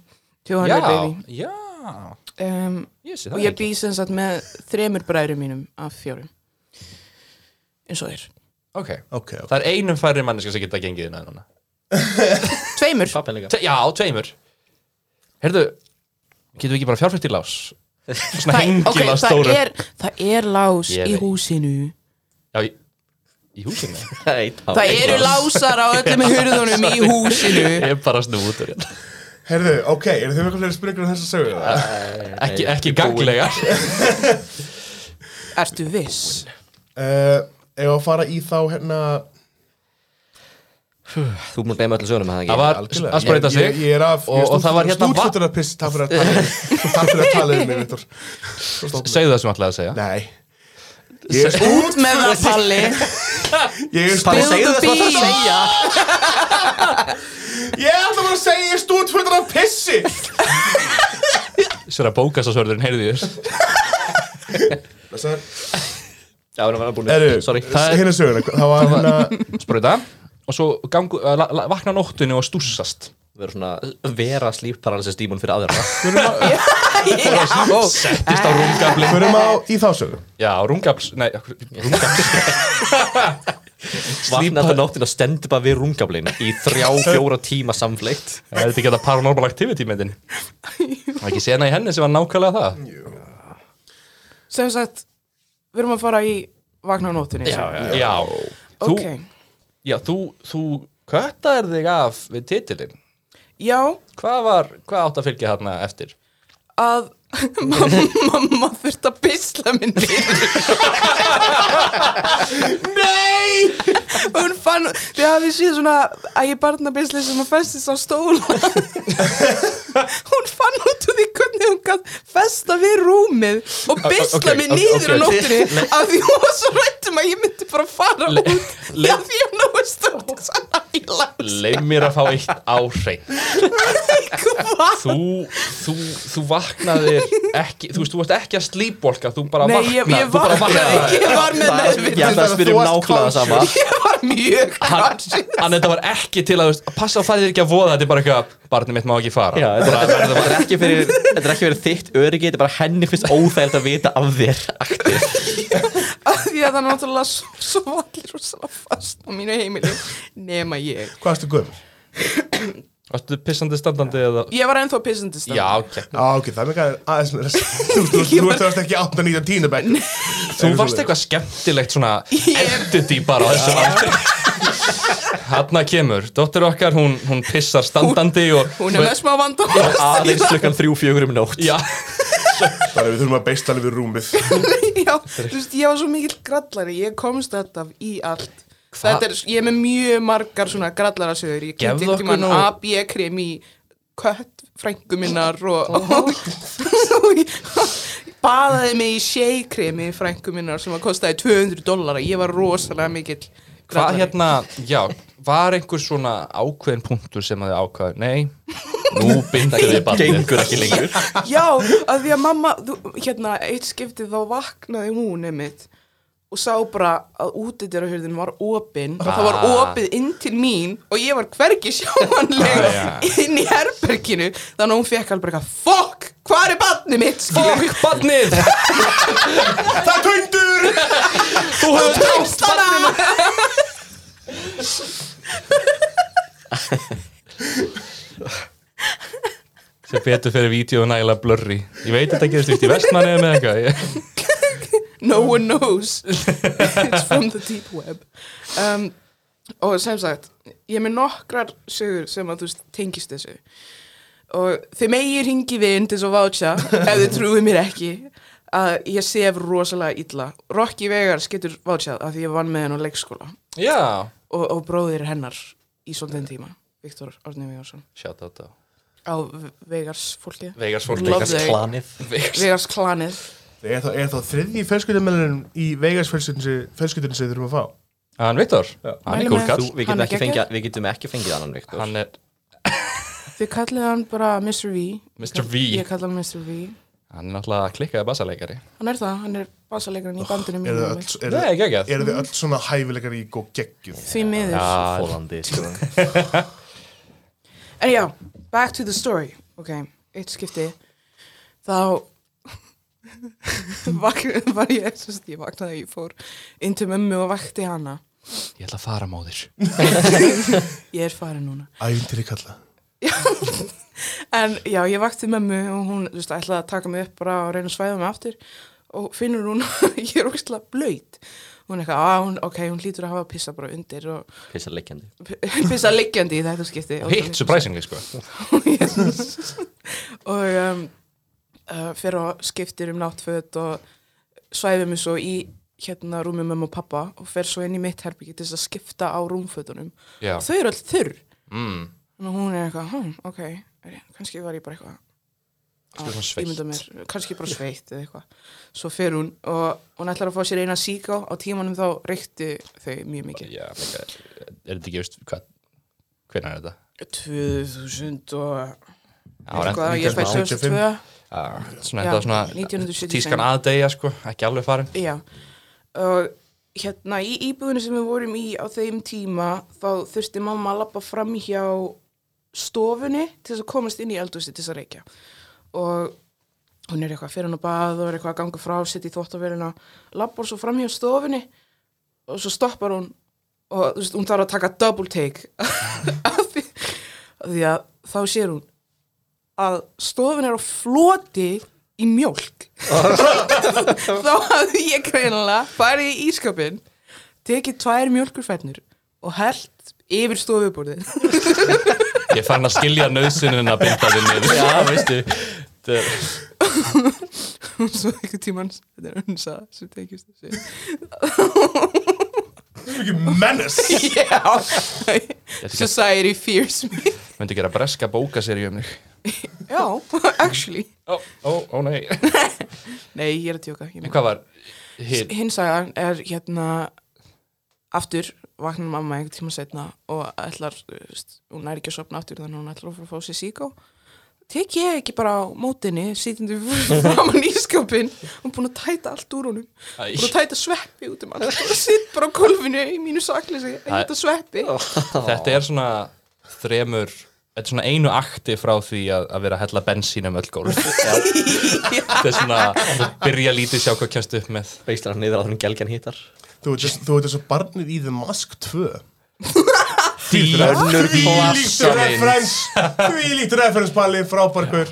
Speaker 4: 200
Speaker 1: já
Speaker 4: baby
Speaker 1: já
Speaker 4: um,
Speaker 1: ég sé
Speaker 4: og
Speaker 1: það
Speaker 4: ég
Speaker 1: ekki
Speaker 4: bý sem sagt með þremur bræðrum mínum af fjórum eins og þér
Speaker 1: ok
Speaker 3: Ok, ok
Speaker 1: Það er einum færri manneska sem geta gengið inn að núna
Speaker 4: tveimur,
Speaker 2: Pappin líka
Speaker 1: Te Já, tveimur Herðu, getum við ekki bara fjárfært í lás? Svona
Speaker 4: það,
Speaker 1: hengil
Speaker 4: okay,
Speaker 1: á
Speaker 4: það,
Speaker 1: stóru
Speaker 4: er, það er lás
Speaker 1: Ég
Speaker 4: í
Speaker 1: veit.
Speaker 4: húsinu
Speaker 1: Já, í, í húsinu
Speaker 4: Það eru lásar á öllum hurðunum í húsinu
Speaker 1: [LAUGHS] Ég er bara snúð út úr hérna
Speaker 3: Herðu, ok, eru þið með eitthvað fleiri spurningar um þess að sögu? það?
Speaker 1: Ekki, ekki ganglegar
Speaker 4: Ertu viss?
Speaker 3: Uh, Ef að fara í þá hérna
Speaker 2: Þú múl beða með öllu sögunum, er
Speaker 1: Það
Speaker 2: það
Speaker 1: var
Speaker 3: Algjörlega.
Speaker 1: að spreita
Speaker 3: Ég-
Speaker 1: sig
Speaker 3: Ég, ég er af,
Speaker 1: Og-
Speaker 3: ég
Speaker 1: og það var hérna va-
Speaker 3: Stútfuttur að piss, takk fyrir að tala um- Takk fyrir að tala um mig, Viktor
Speaker 1: Segðu það sem ætlaði að segja
Speaker 3: Nei Ég er
Speaker 4: Út með það, Palli
Speaker 3: Ég er
Speaker 2: Palli,
Speaker 3: stút
Speaker 2: segðu það sem þú ætlar að
Speaker 4: segja
Speaker 3: Ég
Speaker 4: [LAUGHS]
Speaker 3: ætla bara að segja ég er stútfuttur að pissi
Speaker 1: Sér að bókast á svörðurinn, heyrðu þér
Speaker 3: Blessaður.
Speaker 2: Já, það var búin
Speaker 3: Eru,
Speaker 2: Sorry
Speaker 1: Það er-
Speaker 3: hérna söguna Það var hérna
Speaker 1: Spreita Og svo gangu, uh, la, la, vakna á nóttinu og stússast
Speaker 2: Við erum svona vera slífparalysis dímon fyrir aðra
Speaker 1: Settist á rungafli
Speaker 3: Förum á í þá sögu
Speaker 1: Já, rungafls, nei, rungafls
Speaker 2: Vakna þetta nóttin og stendur bara við rungablin í þrjá, fjóra tíma samfleitt
Speaker 1: Það er Eh, þetta ekki þetta paranormal activity myndin Var ekki sena í henni sem var nákvæmlega það
Speaker 4: Sem sagt, við erum að fara í vakna á nóttunni
Speaker 1: Já, Þú,
Speaker 4: Ok,
Speaker 1: já, þú, þú köttar þig af við titilinn.
Speaker 4: já,
Speaker 1: Hvað var, hvað átt að fylgja þarna eftir? [LAUGHS]
Speaker 4: að mamma, mamma þurft að bisla minni Nei Hún fann, þið hafið séð svona að ég barna bisla sem að festist á stóla Hún fann út úr því hvernig hún gætt festa við rúmið og bisla
Speaker 1: ok,
Speaker 4: mig
Speaker 1: ok,
Speaker 4: niður á
Speaker 1: ok.
Speaker 4: nóttinni af því hún var svo rættum að ég myndi bara fara
Speaker 1: Le-
Speaker 4: út
Speaker 1: le-
Speaker 4: af því hún náðu stótt sann æla
Speaker 1: Leif mér að fá eitt á hrein.
Speaker 4: Hvað?
Speaker 1: Þú, þú, þú vaknaðir ekki, þú veist, þú varst ekki að slípvolka, þú bara
Speaker 4: Nei,
Speaker 1: vaknaðir.
Speaker 4: ég, ég
Speaker 1: þú bara
Speaker 4: vaknaði
Speaker 1: vaknaðir.
Speaker 4: ekki, ég var með
Speaker 2: Ég
Speaker 4: meðvitund
Speaker 2: ætla að spyrja um nákvæmlega sama
Speaker 4: Ég var mjög
Speaker 1: Hann, hann þetta var ekki til að, þú veist, að passa að fara þér ekki að voða, þetta er bara eitthvað, barnið mitt má ekki fara.
Speaker 2: Já, þetta er- þetta er ekki fyrir Þetta er ekki fyrir þitt öryggi, þetta er bara henni finnst óþægild að vita af þér
Speaker 4: af því að það náttúrulega svo, svo allir rosalega fast á mínu heimili nema ég
Speaker 3: Hvað erstu guðum?
Speaker 1: Varstu pissandi standandi eða?
Speaker 4: ég var ennþá pissandi stund
Speaker 1: Já, ok.
Speaker 3: Á, ok, það er mikið aðeins meira Þú veist, þú veist, þú veist ekki 8, 9, 10 bekk
Speaker 1: Þú varst eitthvað skemmtilegt svona
Speaker 4: Ég-
Speaker 1: entity bara á þessu aldri Hanna kemur, dóttir okkar, hún, hún pissar standandi og
Speaker 4: hún er með smá vandum
Speaker 2: Aðeins klukkan þrjú, fjögur um nótt
Speaker 1: Já,
Speaker 3: Þannig að við þurfum að beista alveg við rúmið
Speaker 4: [LAUGHS] já, þú veist, ég var svo mikill grallari ég komst þetta í allt Þetta er, ég er með mjög margar svona grallarasögur ég
Speaker 1: Gefðu
Speaker 4: kynnt
Speaker 1: okkur
Speaker 4: ekki mann
Speaker 1: nú-
Speaker 4: AB-krim í kött frængu minnar [LAUGHS] og, og, og ég baðaði mig í sheikremi frængu minnar sem að kostaði 200 dollara ég var rosalega mikill
Speaker 1: Hvað
Speaker 4: grallari.
Speaker 1: hérna, já, var einhver svona ákveðin punktur sem að þið ákvaði Nei, nú bindur við barnið
Speaker 2: Gengur ekki lengur
Speaker 4: Já, að því að mamma, þú, hérna, eitt skiptið þá vaknaði hún einmitt og sá bara að útidyrahurðin var opin og það var
Speaker 1: Ah.
Speaker 4: opið inn til mín og ég var hvergi sjáanleg
Speaker 1: Ah,
Speaker 4: inn í herberginu þannig að hún fekk alveg eitthvað fokk, hvað er barnið mitt? Fokk, [LAUGHS]
Speaker 1: Barnið,
Speaker 3: Það tundur!
Speaker 1: þú hefur
Speaker 4: tókst hana!
Speaker 1: Sem betur fyrir vídeo nægilega blurry Ég veit þetta gerist víst í vestmanni með eitthvað Ég-
Speaker 4: No one knows It's from the deep web um, Og sem sagt Ég er með nokkrar sögur sem að þú veist, tengist þessu Og þið megi ringi við til svo vátja ef þið trúið mér ekki að ég sef rosalega illa Rocky Vegars getur vátjað af því ég vann með henn á leikskóla
Speaker 1: Já,
Speaker 4: og, og bróðir hennar í svolítinn tíma Viktor Árni Vegarsson
Speaker 1: shout out á
Speaker 4: á V- Vegars fólkið
Speaker 1: Vegars fólk
Speaker 4: Love
Speaker 1: Vegars
Speaker 4: Vegas þig.
Speaker 2: Planið
Speaker 1: Vegars
Speaker 4: Vegars klanið
Speaker 3: Er þá, er þá þriðji fjölskyldumælurinn í Vegas fjölskyldunni sem við þurfum að fá?
Speaker 1: Hann Viktor, hann er
Speaker 4: Mælum
Speaker 1: cool
Speaker 4: með-
Speaker 1: kall
Speaker 2: Þú, við,
Speaker 4: Hann
Speaker 2: getum
Speaker 4: er
Speaker 2: ekki
Speaker 4: geggjaður.
Speaker 2: fengið, við getum ekki fengið annan Viktor
Speaker 1: Hann er,
Speaker 4: Þið kallið hann bara Mr. V
Speaker 1: Mr. V.
Speaker 4: Ég kallið hann Mr. V
Speaker 1: hann er náttúrulega klikkaði bassaleikari
Speaker 4: Hann er það, hann er basaleikarinn í bandinu
Speaker 3: Eru
Speaker 4: mínu
Speaker 3: þið
Speaker 4: Emil.
Speaker 3: öll- eru
Speaker 1: Nei,
Speaker 3: þið-
Speaker 1: ekki ekki að
Speaker 3: eru þið öll svona hæfilegar í góð geggjum?
Speaker 4: Því miður
Speaker 2: Fólandi sko.
Speaker 4: En já, back to the story Ok, eitt skipti Þá [LAUGHS] vak- var ég, sem sagt, ég vaknaði Ég fór inn til mömmu og vakti hana
Speaker 1: Ég ætla að fara móðir
Speaker 4: Ég er farin núna
Speaker 3: Ævintýri kalla.
Speaker 4: En já, ég vakti mömmu og hún, þú veist, ætlaði að taka mig upp bara og reyna að svæða mig aftur og finnur hún, [LAUGHS] ég er ógstlega blöyt Hún er eitthvað, að hún, ok, hún hlýtur að hafa að pissa bara undir og [LAUGHS]
Speaker 2: Pissar leggjandi
Speaker 4: pissa liggjandi í þetta skipti
Speaker 1: Hitt, surprisingly sko
Speaker 4: [LAUGHS] og um, uh, fyrir og skiptir um náttföt og svæfir mig svo í hérna rúmi með mamma og pappa og fer svo inn í mitt herbyggi til þess að skipta á rúmfötunum
Speaker 1: Já.
Speaker 4: og þau eru öll þurr
Speaker 1: mm.
Speaker 4: og hún er eitthvað, hm, ok, er ég- kannski var ég bara eitthvað
Speaker 1: Kannski svona
Speaker 4: að
Speaker 1: sveitt.
Speaker 4: ímynda mér, kannski bara sveitt eða eitthvað, svo fer hún og hún ætlar að fá sér eina síká á tímanum þá reykti þau mjög mikið
Speaker 1: Já, mega, er þetta ekki veist hvað Hvernig er þetta?
Speaker 4: 2000 og
Speaker 1: Já, var
Speaker 4: eitthvað, ég fæ
Speaker 3: 1995.
Speaker 4: 2002
Speaker 1: Já, svona,
Speaker 4: Já,
Speaker 1: þetta var svona eh,
Speaker 4: 1975.
Speaker 1: tískan aðdegja sko, ekki alveg farin
Speaker 4: Já, og hérna í íbúðinu sem við vorum í á þeim tíma þá þurfti mamma að lappa fram hjá stofunni til þess að komast inn í eldhúsi til þess að reykja og hún er eitthvað fyrir hann að bað og er eitthvað að ganga frá, sitt í þvóttavélina lappar svo fram hjá stofunni og svo stoppar hún og þú veist, hún þarf að taka double take [LAUGHS] af því, af því að þá sér hún að stofun er á floti í mjólk þá hafði ég greinilega farið í ískapin tekið tvær mjölkurfennur og held yfir stofuborðin
Speaker 1: Ég fann að skilja nöðsunin að binda þið niður Já, [LAUGHS] veistu Þetta er-
Speaker 4: [LAUGHS] og svo einhvern tímann þetta er önsa sem tekist þessu
Speaker 3: Mikið menace!
Speaker 4: já [LAUGHS] society fears me
Speaker 1: Myndi gera breska bókaseríu um þig
Speaker 4: já, [LAUGHS] actually
Speaker 1: Ó, ó, ó nei
Speaker 4: nei, ég er að tjóka ég
Speaker 1: En
Speaker 4: meina-
Speaker 1: hvað var hitt?
Speaker 4: hins sagan er hérna aftur vaknar mamma einhvern tíma setna og ætlar, þú veist, hún er ekki að sopna aftur þannig að hún ætlar að fara að fá sér síkó tek ég ekki bara á mótinni sýtjandi
Speaker 1: [LAUGHS]
Speaker 4: framan í skápin hún er búin að tæta allt úr honum
Speaker 1: Æ.
Speaker 4: búin að tæta sveppi út um allt og sitt bara á kolfinu í mínu sakleysi að
Speaker 1: Æ.
Speaker 4: hitta sveppi
Speaker 1: Þetta er svona þremur Þetta er svona einu akti frá því að, að vera að hella bensín um öll gólf
Speaker 2: [LAUGHS]
Speaker 1: Þetta er svona byrja lítið sjá hvað kemst upp með
Speaker 2: Beislar hann niður að hann gelgjan hittar
Speaker 3: Þú ert þess- þú ert þessu barnið í The Mask 2
Speaker 1: Dýrnur
Speaker 3: Þvílíkt
Speaker 4: [LAUGHS]
Speaker 3: reference Þvílíkt reference Palli, frábærkur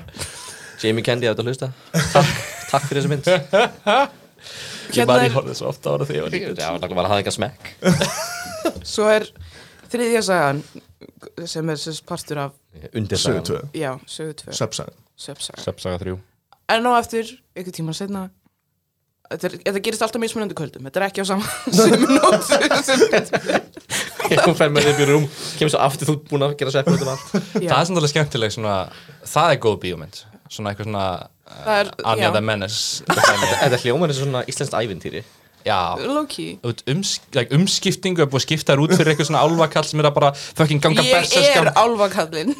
Speaker 2: Jamie Candy að þetta hlusta Takk- Takk fyrir þessu [LAUGHS] mynd
Speaker 1: Ég
Speaker 4: Hérna
Speaker 1: bara
Speaker 4: er-
Speaker 1: ég horfði svo ofta ára því ég var líka
Speaker 2: Já, það var að hafa eitthvað smekk
Speaker 4: svo er þriðja sagan sem er sérst partur af
Speaker 2: Undir [LAUGHS]
Speaker 3: Sögu
Speaker 2: það
Speaker 3: 2,
Speaker 4: já, sögu 2,
Speaker 3: Subsagan
Speaker 4: söpsaga
Speaker 1: Söpsaga 3
Speaker 4: En á eftir, einhvern tíma setna Þetta, er, þetta gerist alltaf mismunandi kvöldum Þetta er ekki á saman sem nót
Speaker 2: Hún fer með þig upp í rúm, kemur svo aftur þú ert búin að gera sveppu út um allt.
Speaker 4: Já.
Speaker 1: Það er samtalið skemmtileg svona, það er góð bíómynd Svona eitthvað svona uh,
Speaker 4: Það er- já.
Speaker 1: Anja the Menace dæmi.
Speaker 2: Þetta hljómar eins og svona íslenskt ævintýri.
Speaker 1: Já
Speaker 4: Loki
Speaker 1: Þú veit, Ums, like, umskiptingu er búið að skipta þér út fyrir eitthvað svona álvakall sem er að bara fucking ganga
Speaker 4: Ég er
Speaker 1: berserskján
Speaker 4: [LAUGHS] álvakallinn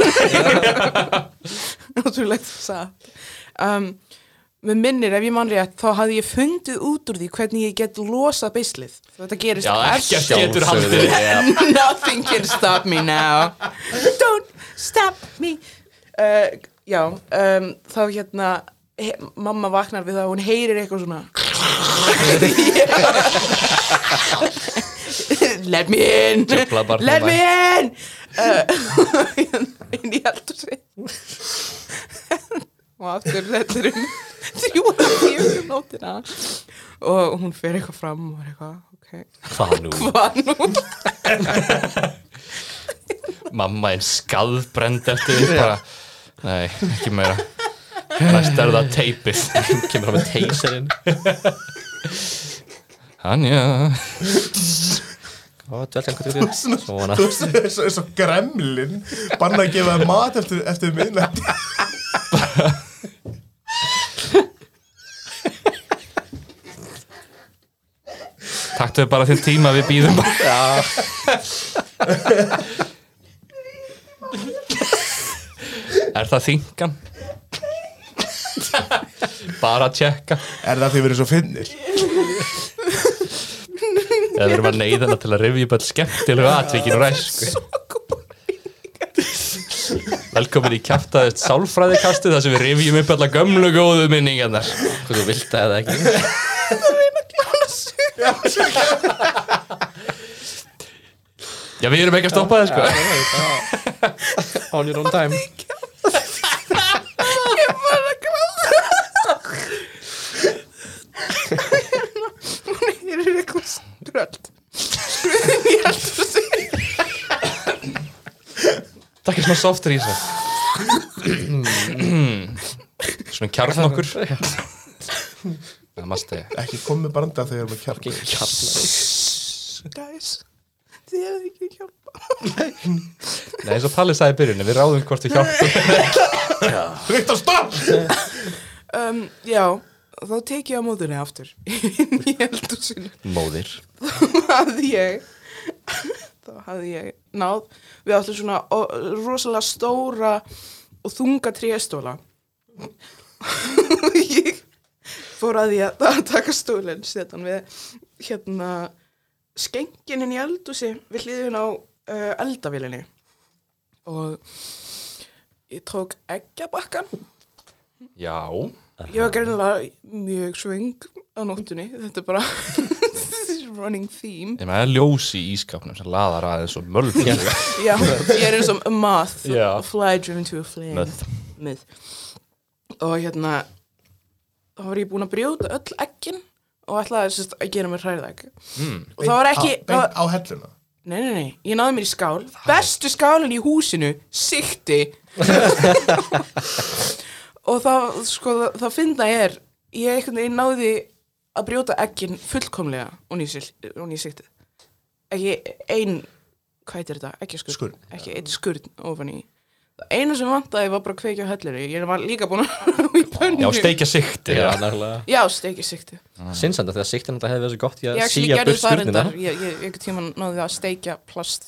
Speaker 4: Náttúrulegt satt um, Mér minnir ef ég man rétt þá hafði ég fundið út úr því hvernig ég get losað beislið Þetta gerist
Speaker 1: Já, ekkert getur
Speaker 2: Sjálfsögðu,
Speaker 1: haldið
Speaker 2: já.
Speaker 4: [LAUGHS] Nothing can stop me now Don't stop me uh, Já, um, þá hérna he, Mamma vaknar við það og hún heyrir eitthvað svona [LAUGHS] Let me in
Speaker 1: Djöfla barnið
Speaker 4: Let me
Speaker 1: vænt.
Speaker 4: in uh, [LAUGHS] inn í eldursi og aftur þetta er um þrjú og tíu um nótina og hún fer eitthvað fram og er eitthvað ok,
Speaker 1: Hvað nú?
Speaker 4: hvað nú
Speaker 1: Mamma einn skadbrend eftir því bara Nei, ekki meira Næst er það teipið [LAUGHS]
Speaker 2: Kemur hann með teyserinn.
Speaker 1: Anja
Speaker 2: Ó, dvelgan, hvað þú getur. Svona.
Speaker 3: Þú veist, [LAUGHS] það er svo- er svo gremlin Banna að gefa þér mat eftir, eftir miðnætti
Speaker 1: Takk þau bara til tíma við býðum bara Er það þingan? bara að tjekka
Speaker 3: Er það því verið svo finnir?
Speaker 1: Eða við erum að neyða hana til að rifja upp all skemmtilegu atvíkin og
Speaker 4: Sko.
Speaker 1: ræsku Velkomin í kæftaðist sálfræðikasti þar sem við rifjum upp alla gömlu góðu minningarnar
Speaker 2: Hvað þú vilt að eða ekki.
Speaker 1: Já, við erum ekki að stoppa það sko
Speaker 2: [LAUGHS] On your own time.
Speaker 4: Hér er eitthvað ströld Skruðin í eldursi
Speaker 1: Takk er svona softur í þessu Svona kjarn okkur Namaste
Speaker 3: Ekki komið branda þegar við erum að kjarna
Speaker 4: Guys, þið eruð ekki að hjálpa
Speaker 1: Nei, eins og Palli sagði í byrjunni, við ráðum hvort við hjálpum
Speaker 3: Ríkt að stopp!
Speaker 4: um, Já, þá tek ég á móðunni aftur [LAUGHS] inn í eldursinu
Speaker 2: Móðir.
Speaker 4: hafði ég þá hafði ég náð við áttum svona ó- rosalega stóra og þunga tréstóla og [LAUGHS] ég fór að því að að taka stólinn setan við hérna skenkinin í eldúsi við hliðin á uh, eldavílinni og ég tók eggjabakkan
Speaker 1: Já
Speaker 4: ég var greinilega mjög svöng á nóttunni þetta er bara [LAUGHS] this is running theme
Speaker 1: Ég meðan ljós í ískapnum sem laðar aðeins og mölg [LAUGHS]
Speaker 4: Já, ég er eins og a moth
Speaker 1: Já.
Speaker 4: A fly driven to a flame
Speaker 1: Möð.
Speaker 4: Möð. Og hérna Þá var ég búin að brjóta öll ekkin Og ætlaði sérst, að gera mér hræðegg mm. Og það var ekki það var,
Speaker 3: Beint á helluna
Speaker 4: Nei, nei, nei, ég náði mér í skál Bestu skálinn í húsinu, sikti [LAUGHS] Og það, sko, það, það finna er Ég einhvern veginn náði Að brjóta ekkin fullkomlega Og nýja siktið Ekki ein, hvað heitir þetta? Ekki skurn,
Speaker 3: Skurn.
Speaker 4: ekki eitt skurn ofan í Það eina sem vantaði var bara að kveikja á hellinu Ég var líka búin að [LAUGHS] ná í pönnu
Speaker 1: Já, steikja sikti
Speaker 2: Já,
Speaker 1: já.
Speaker 2: nærlega.
Speaker 4: Já, steikja sikti
Speaker 2: Sinnsanda, þegar siktin þetta hefði verið svo gott í
Speaker 4: Ég
Speaker 2: að
Speaker 4: actually
Speaker 2: síja
Speaker 4: gerði
Speaker 2: burt
Speaker 4: það reyndar
Speaker 2: skurnina.
Speaker 4: Ég, ég, einhvern tímann náði að steikja plast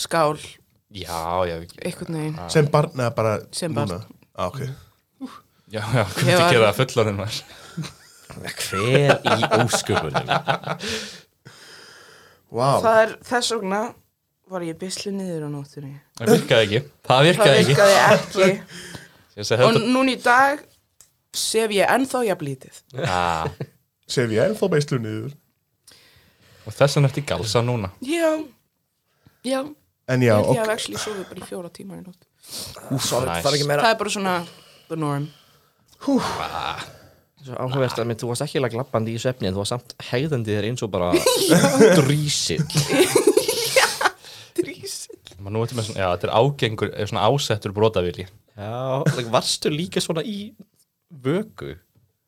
Speaker 4: skál,
Speaker 1: já, já,
Speaker 4: einhvern veginn
Speaker 3: Sem barn eða bara
Speaker 4: Sem barn.
Speaker 3: núna ah, ok.
Speaker 1: já, já, hvernig
Speaker 4: Ég
Speaker 1: var...
Speaker 4: var-
Speaker 1: gera það fullorinn var
Speaker 2: Hver [LAUGHS] í ósköpunum?
Speaker 3: Vá,
Speaker 4: Það er þess vegna var ég byslu niður á nóttunni
Speaker 1: Það virkaði ekki, það
Speaker 4: Það
Speaker 1: virkaði ekki
Speaker 4: virkaði ekki
Speaker 1: Ég segi
Speaker 4: Og
Speaker 1: þetta
Speaker 4: núna í dag sef ég ennþá jafnlítið
Speaker 1: Ah,
Speaker 3: sef ég ennþá beislu niður
Speaker 1: Og þess vegna ertu í galsa núna
Speaker 4: Já, já
Speaker 3: En já,
Speaker 4: Ég held ég
Speaker 3: ok,
Speaker 4: hef actually sofið bara í fjóra tíma í nótt
Speaker 1: Nice.
Speaker 2: Það er ekki meira
Speaker 4: Það er bara svona the norm
Speaker 2: Svo áhugavert að mér, þú varst ekki eiginlega glappandi í svefni en þú varst samt hegðandi þér eins og [LAUGHS] bara drísill.
Speaker 4: Drísill
Speaker 1: Man, nú ertu með svona, já, þetta er ágengur, er svona ásettur brotavili
Speaker 2: Já, like, varstu líka svona í vöku?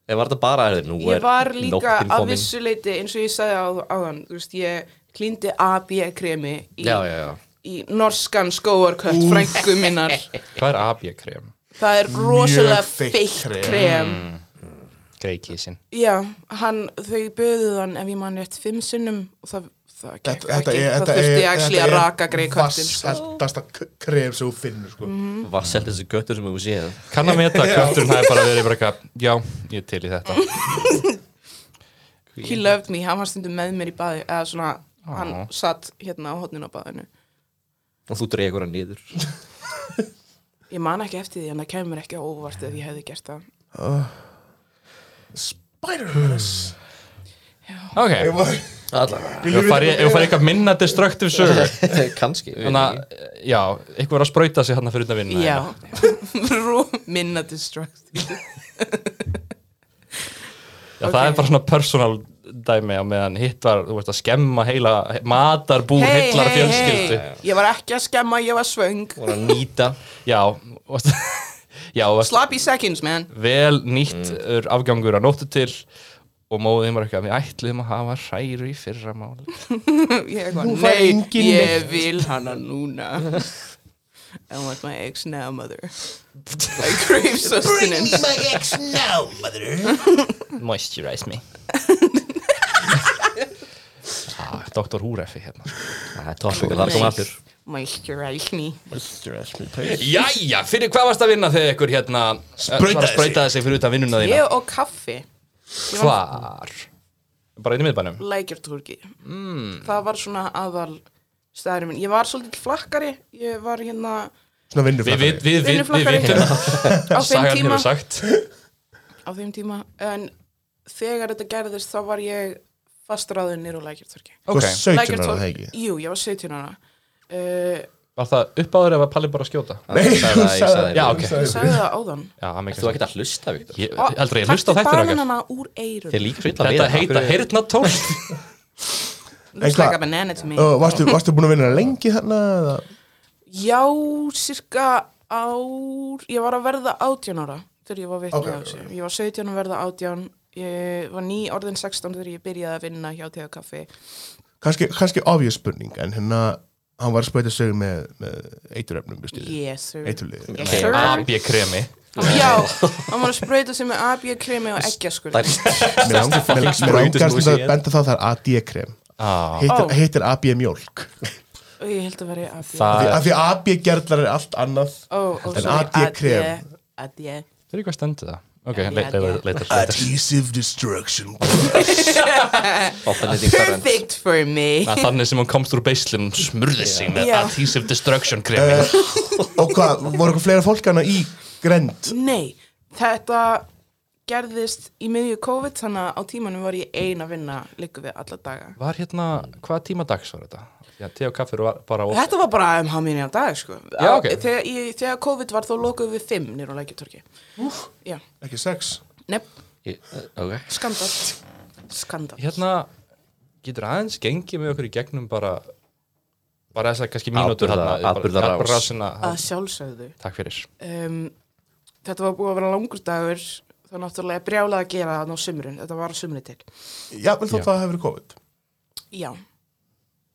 Speaker 2: Eða var þetta bara að þér nú
Speaker 4: Ég var líka
Speaker 2: nóttin
Speaker 4: að
Speaker 2: komin?
Speaker 4: vissu leiti eins og ég sagði á, áðan Þú veist, ég klíndi AB-kremi í,
Speaker 2: Já, já, já.
Speaker 4: í norskan skóarkött frængu minnar
Speaker 5: Hvað er AB-krem?
Speaker 4: það er rosalega
Speaker 3: þykkt
Speaker 4: feitt
Speaker 3: krem.
Speaker 4: krem
Speaker 5: Mm. Greikísin.
Speaker 4: já, hann, þau böðuð hann ef ég man rétt fimm sinnum og það, það gekk ekki, það þurfti actually að raka greið köttin sko. Mhm.
Speaker 3: vasseldasta krem sem þú finnur sko.
Speaker 2: Vasselt þessi göttur sem þú séð
Speaker 5: Kann að meta að kvöldurinn hafi bara verið bara eitthvað, já, ég er til í þetta.
Speaker 4: he loved me, hann var stundum með mér í baði eða svona, hann satt hérna á hotninu á baðinu
Speaker 2: og þú dregur hann niður
Speaker 4: ég man ekki eftir því en það kemur ekki á óvart ef ég hefði gert það
Speaker 3: Spider-Verse
Speaker 5: Ok,
Speaker 3: Ég var-
Speaker 2: [LAUGHS] Allavega
Speaker 5: ef þú farið eitthvað minna destructive sögur,
Speaker 2: Kanski við
Speaker 5: þannig
Speaker 2: vitum ekki.
Speaker 5: að, eh, já, eitthvað er að spröyta sig hann fyrir utan vinna.
Speaker 4: já, [LAUGHS] Rú- minna destructive
Speaker 5: Já, það er bara svona personal dæmi á meðan hitt var, þú veist, að skemma heila matarbú, hey, heillar fjölskyldu
Speaker 4: ég var ekki að skemma, ég var svöng
Speaker 2: voru að nýta
Speaker 5: Já, og, [LAUGHS] já, og
Speaker 4: sloppy seconds man
Speaker 5: vel nýtt mm. afgangur að nóttu til og móðið var eitthvað, við ætluðum að hafa hræru í fyrra máli
Speaker 4: ég var,
Speaker 3: Nú fær
Speaker 4: nei,
Speaker 3: enginn
Speaker 4: ég vil hana
Speaker 3: [LAUGHS]
Speaker 4: núna I want my ex now mother I crave sustenance
Speaker 3: my ex now, mother
Speaker 5: Moisturize me ah, Dr. Húrefi hérna
Speaker 2: Það er tóttökul, það kom aftur
Speaker 4: moisturize me
Speaker 5: Jæja, fyrir hvað varst að vinna þegar ykkur hérna
Speaker 3: Sprautaði
Speaker 5: var að sprautaði sig fyrir utan vinnuna þína
Speaker 4: ég og kaffi
Speaker 5: Hvar? Bara inn í miðbænum?
Speaker 4: Lækjartorgi
Speaker 5: Hmm.
Speaker 4: mm. það var svona aðal staðurinn minn, ég var svolítið flakkari ég var hérna
Speaker 3: Svona vinnur
Speaker 5: Við, við, við, við, við
Speaker 4: Vinnuflokkari.
Speaker 5: vitum
Speaker 4: á þeim
Speaker 5: Sagan
Speaker 4: tíma
Speaker 5: hefur sagt
Speaker 4: á þeim tíma, en þegar þetta gerðist þá var ég fastráðin nýr á Lækjartorgi
Speaker 3: Hvað 17 ára það
Speaker 4: Lækjartorg,
Speaker 3: ekki?
Speaker 4: jú, ég var 17 ára uh,
Speaker 5: Var það uppáður eða var Palli bara að skjóta?
Speaker 3: Nei,
Speaker 2: Ég sagði það, ég sagði það.
Speaker 5: Já, ok
Speaker 4: ég sagði það áðan
Speaker 5: Já, það
Speaker 2: Þú
Speaker 5: mikilvægt
Speaker 2: ekkert að hlusta, Viktor
Speaker 5: Ég aldrei, ég hlusta á þættir okkar
Speaker 4: bananana úr eirun
Speaker 2: Þið er líka svo illa
Speaker 5: Þetta heita heyrnatólst
Speaker 4: looks
Speaker 3: hvað-
Speaker 4: like a banana to me
Speaker 3: Ö, varstu, varstu búin að vinna lengi þarna? eða?
Speaker 4: já, cirka ár ég var að verða 18 ára þegar ég var vitni
Speaker 3: Ok,
Speaker 4: okay, þessu ég var 17 að verða 18 ég var ný orðin 16 þegar ég byrjaði að vinna hjá Tega Kaffi
Speaker 3: Kannski, kannski obvious spurning En hérna, hann var að spöta sögur með, með eiturefnum
Speaker 4: yes sir
Speaker 3: Eiturlið
Speaker 4: Yes, sir.
Speaker 5: AB-kremi
Speaker 4: Já, hann var að sprauta sig með AB-kremi og eggjaskul
Speaker 3: Mér langar mér langar
Speaker 2: sprautu sem
Speaker 3: stundum
Speaker 2: þú
Speaker 3: að
Speaker 2: séð.
Speaker 3: benda þá það er AD-krem
Speaker 5: ah,
Speaker 3: Heitir,
Speaker 4: Ó.
Speaker 3: heitir AB mjólk
Speaker 4: og ég held að vera AB
Speaker 3: Því
Speaker 5: Það
Speaker 3: af því AB gerðlar er allt annað
Speaker 4: Ó, ó,
Speaker 3: En
Speaker 4: sorry,
Speaker 3: AD-krem.
Speaker 4: AD
Speaker 5: Það er eitthvað stendur það Ok,
Speaker 4: Já, já,
Speaker 5: leitar,
Speaker 4: já.
Speaker 5: leitar, leitar
Speaker 3: Adhesive destruction
Speaker 2: Perfect
Speaker 4: Perfect for me
Speaker 5: Það er þannig sem hann komst úr beislinn og smurði sig með
Speaker 4: Já.
Speaker 5: adhesive destruction kremi
Speaker 3: Og hvað, voru eitthvað fleira fólk hana í grend?
Speaker 4: Nei, þetta gerðist í miðju COVID þannig að á tímanum var ég ein að vinna líka við alla daga
Speaker 5: Var hérna, hvaða tíma dags var þetta? Já, te og kaffir var bara á
Speaker 4: Þetta var bara um haminni á dag sko.
Speaker 5: Já, ok.
Speaker 4: þegar, ég, þegar COVID var þá lokuðum við fimm nýr á lækjartorki Já,
Speaker 3: Ekki sex
Speaker 4: nefn,
Speaker 2: Ok
Speaker 4: skandal Skandal
Speaker 5: Hérna, getur aðeins gengið með okkur í gegnum bara bara þess að kannski mínútur
Speaker 2: Atburða-
Speaker 5: þarna, bara-
Speaker 2: atburðarás.
Speaker 5: atburðarásina.
Speaker 4: Að sjálfsögðu
Speaker 5: Takk fyrir
Speaker 4: um, þetta var búið að vera langur dagur það er náttúrulega brjálað að gera þannig á sumrun þetta var á sumri til
Speaker 3: Já, vel þótt það hefur verið COVID
Speaker 4: já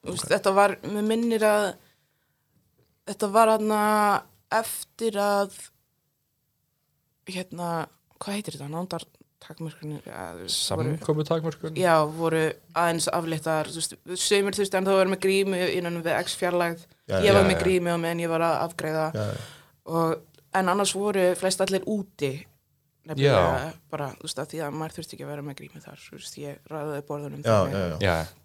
Speaker 4: Úst, þetta var, mér minnir að þetta var hann eftir að hérna, hvað heitir þetta nándar takmörkunni voru,
Speaker 5: Samkomu takmörkun
Speaker 4: já, voru aðeins afléttar þú veist, sumir þurfti en þá varum við grímu innan við x fjarlægð
Speaker 3: Já,
Speaker 4: ég var
Speaker 5: já,
Speaker 4: með
Speaker 5: já.
Speaker 4: grímu og meðan ég var að afgreiða
Speaker 3: Já, já.
Speaker 4: og, en annars voru flest allir úti nefnilega bara, þú veist, að því að maður þurfti ekki að vera með grími þar, þú veist, ég ræðaði borðunum
Speaker 3: já,
Speaker 4: þannig.
Speaker 3: já, já.
Speaker 5: Já,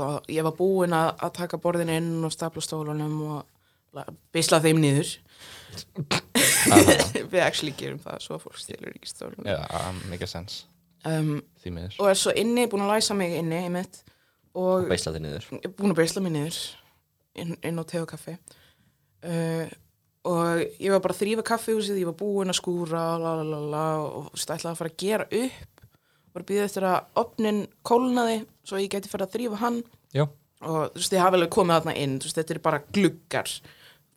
Speaker 4: og ég var búin að, að taka borðin inn og stapla stólunum og la- beisla þeim niður við actually gerum það svo að fólk stelur ekki stólunum
Speaker 5: já, mikið sens
Speaker 4: um,
Speaker 5: Því miður
Speaker 4: og er svo inni, búin að læsa mig inni einmitt, og
Speaker 2: Beisla þig niður
Speaker 4: ég er búin að beisla mig niður inn, inn á tegu kaffi uh, og ég var bara að þrýfa kaffihúsið, ég var búin að skúra la, la, la, la, og þú veist, ætlaði að fara að gera upp var að býða eftir að opnin kólnaði svo ég gæti fara að þrýfa hann
Speaker 5: Já,
Speaker 4: og þú veist, ég hafa alveg komið þarna inn þú veist, þetta er bara gluggar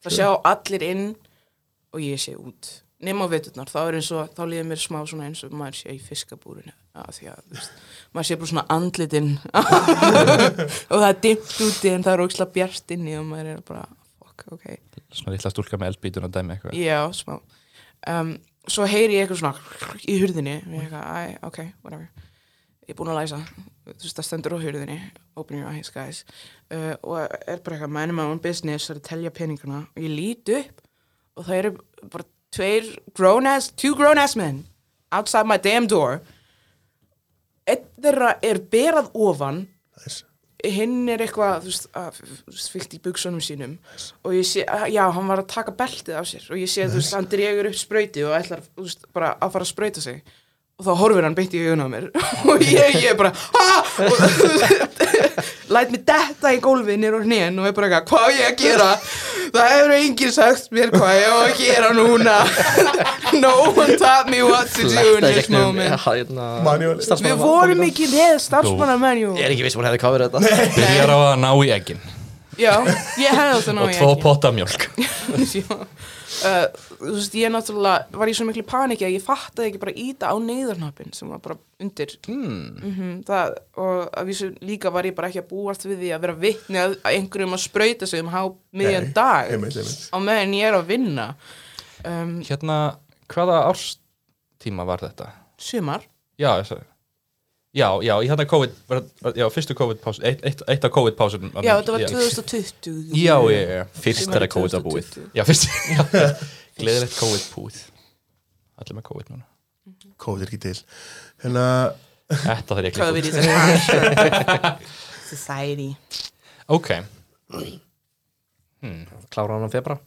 Speaker 4: það sjá allir inn og ég sé út nema á veturnar, þá er eins og þá líður mér smá svona eins og maður sé í fiskabúrinu að því að, þú veist, maður sé bara svona andlitinn og það er dimmt úti en það er ógislega bjart inni og maður er bara, fuck, ok
Speaker 5: Svona lilla stúlka með eldbítun og dæmi eitthvað
Speaker 4: já, smá um, svo heyri ég eitthvað svona í hurðinni og ég eitthvað, æ, ok, whatever ég er búin að læsa, þú veist, það stendur á hurðinni open your eyes, guys uh, og er bara eitthvað, mænum að own business er að telja peningana og ég lít upp og það eru bara tveir grown ass, two grown ass men outside my damn door einn þeirra er berað ofan
Speaker 3: Nice.
Speaker 4: hinn er eitthvað þú veist, að- þú veist, fyllt í buksunum sínum og ég sé, að- já, hann var að taka beltið af sér og ég sé, þú veist, hann dregur upp sprauti og ætlar, þú veist, bara að fara að sprauta sig og þá horfir hann beint í augun á mér [LAUGHS] og ég, ég er bara "Ha?" og [LAUGHS] þú veist, læt mér detta í gólfið nýr og hnén og er bara eitthvað, hvað á ég að gera það hefur enginn sagt mér hvað ég á að gera núna [LAUGHS] no one taught me what to do in
Speaker 2: Fletta í
Speaker 4: this
Speaker 2: gegnum,
Speaker 4: moment
Speaker 2: hérna,
Speaker 3: Manual.
Speaker 4: við
Speaker 2: starfsmanna-
Speaker 4: vorum ekki með starfsmanna
Speaker 2: Ég er ekki viss um að hún hefði kafir þetta
Speaker 5: Byrjar á að ná í eggin
Speaker 4: já, ég hefði átt að ná
Speaker 5: og
Speaker 4: í
Speaker 5: tvo
Speaker 4: ekki.
Speaker 5: potta mjölk
Speaker 4: [LAUGHS] Já. uh, þú veist, ég náttúrulega var í svo miklu paniki að ég fattaði ekki bara að íta á neyðarnapin sem var bara undir mm.
Speaker 3: Hmm.
Speaker 4: það, og að vísu líka var ég bara ekki að búast við því að vera vittni að að einhverjum að sprauta sig um há miðjan
Speaker 3: Nei,
Speaker 4: dag
Speaker 3: einmitt, einmitt.
Speaker 4: á meðan ég er að vinna um,
Speaker 5: Hérna, hvaða árstíma var þetta?
Speaker 4: sumar
Speaker 5: Já, ég sagði Já, já, í þetta COVID, var- já, fyrstu COVID-pásun, eitt, eitt, eitt af COVID-pásunum.
Speaker 4: já, þetta var
Speaker 5: Já.
Speaker 4: 2020
Speaker 5: Já, já, já, já.
Speaker 2: Fyrst
Speaker 4: Sumarið
Speaker 2: er að kóta búið
Speaker 4: 2020.
Speaker 5: Já, fyrst Gleðilegt COVID-púð Allir með COVID núna
Speaker 3: COVID er ekki til hérna,
Speaker 5: Þetta þarf ég
Speaker 4: COVID
Speaker 5: ekki
Speaker 4: is a monster
Speaker 3: [LAUGHS]
Speaker 4: society
Speaker 5: Ok,
Speaker 2: Klára hann á febra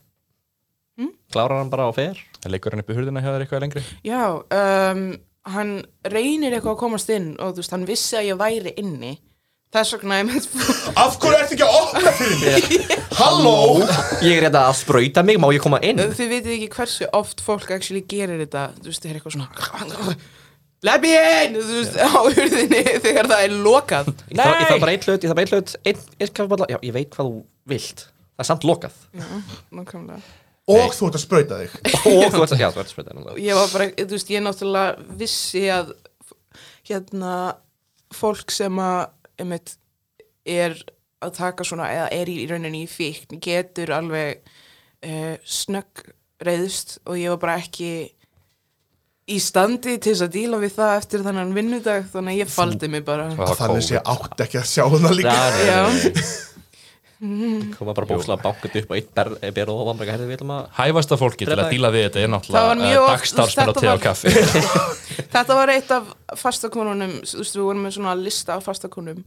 Speaker 4: Hmm?
Speaker 2: Klára hann bara á fer
Speaker 5: það leikur hann upp í hurðina hjá þér eitthvað lengri
Speaker 4: Já, um, hann reynir eitthvað að komast inn og þú veist, hann vissi að ég væri inni þess vegna ég
Speaker 3: [LAUGHS]
Speaker 4: með
Speaker 3: af hverju ertu ekki að opna fyrir
Speaker 4: [LAUGHS]
Speaker 3: mig halló
Speaker 2: Ég er hérna að sprauta mig, má ég koma inn?
Speaker 4: þið vitið ekki hversu oft fólk actually gerir þetta, þú veist, það er eitthvað svona let me in þú veist, á hurðinni [LAUGHS] þegar það er lokað
Speaker 2: Ég þarf, ég þarf bara einn hlut, ég þarf bara einn hlut einn, einn kaffiballa, já, ég veit hvað þú vilt Það er samt lokað
Speaker 4: Nákvæmlega.
Speaker 3: og þú ert að sprauta þig
Speaker 2: Og þú ert að, já, þú ert að sprauta hérna
Speaker 4: ég var bara, þú veist, ég náttúrulega vissi að hérna fólk sem að einmitt, er að taka svona eða er í, í rauninni í fíkn getur alveg uh, snögg reyðst og ég var bara ekki í standi til þess að díla við það eftir þannan vinnudag þannig að ég faldi mig bara
Speaker 5: Það var
Speaker 3: þannig
Speaker 5: COVID
Speaker 3: sé ég átt ekki að sjá það líka
Speaker 4: Já.
Speaker 2: Koma bara bókslega bankað upp á eitt ber, berð og vann bara hérna við viljum að
Speaker 5: Hæfasta fólki til að
Speaker 2: Drepa-
Speaker 5: díla við þetta er
Speaker 4: Það var
Speaker 5: náttúrulega
Speaker 4: mjög oft-
Speaker 5: dagstarfsmenn á
Speaker 4: þetta
Speaker 5: te og
Speaker 4: var-
Speaker 5: kaffi
Speaker 4: [LAUGHS] Þetta var eitt af fastakonunum, þú veist, við vorum með svona lista af fastakonum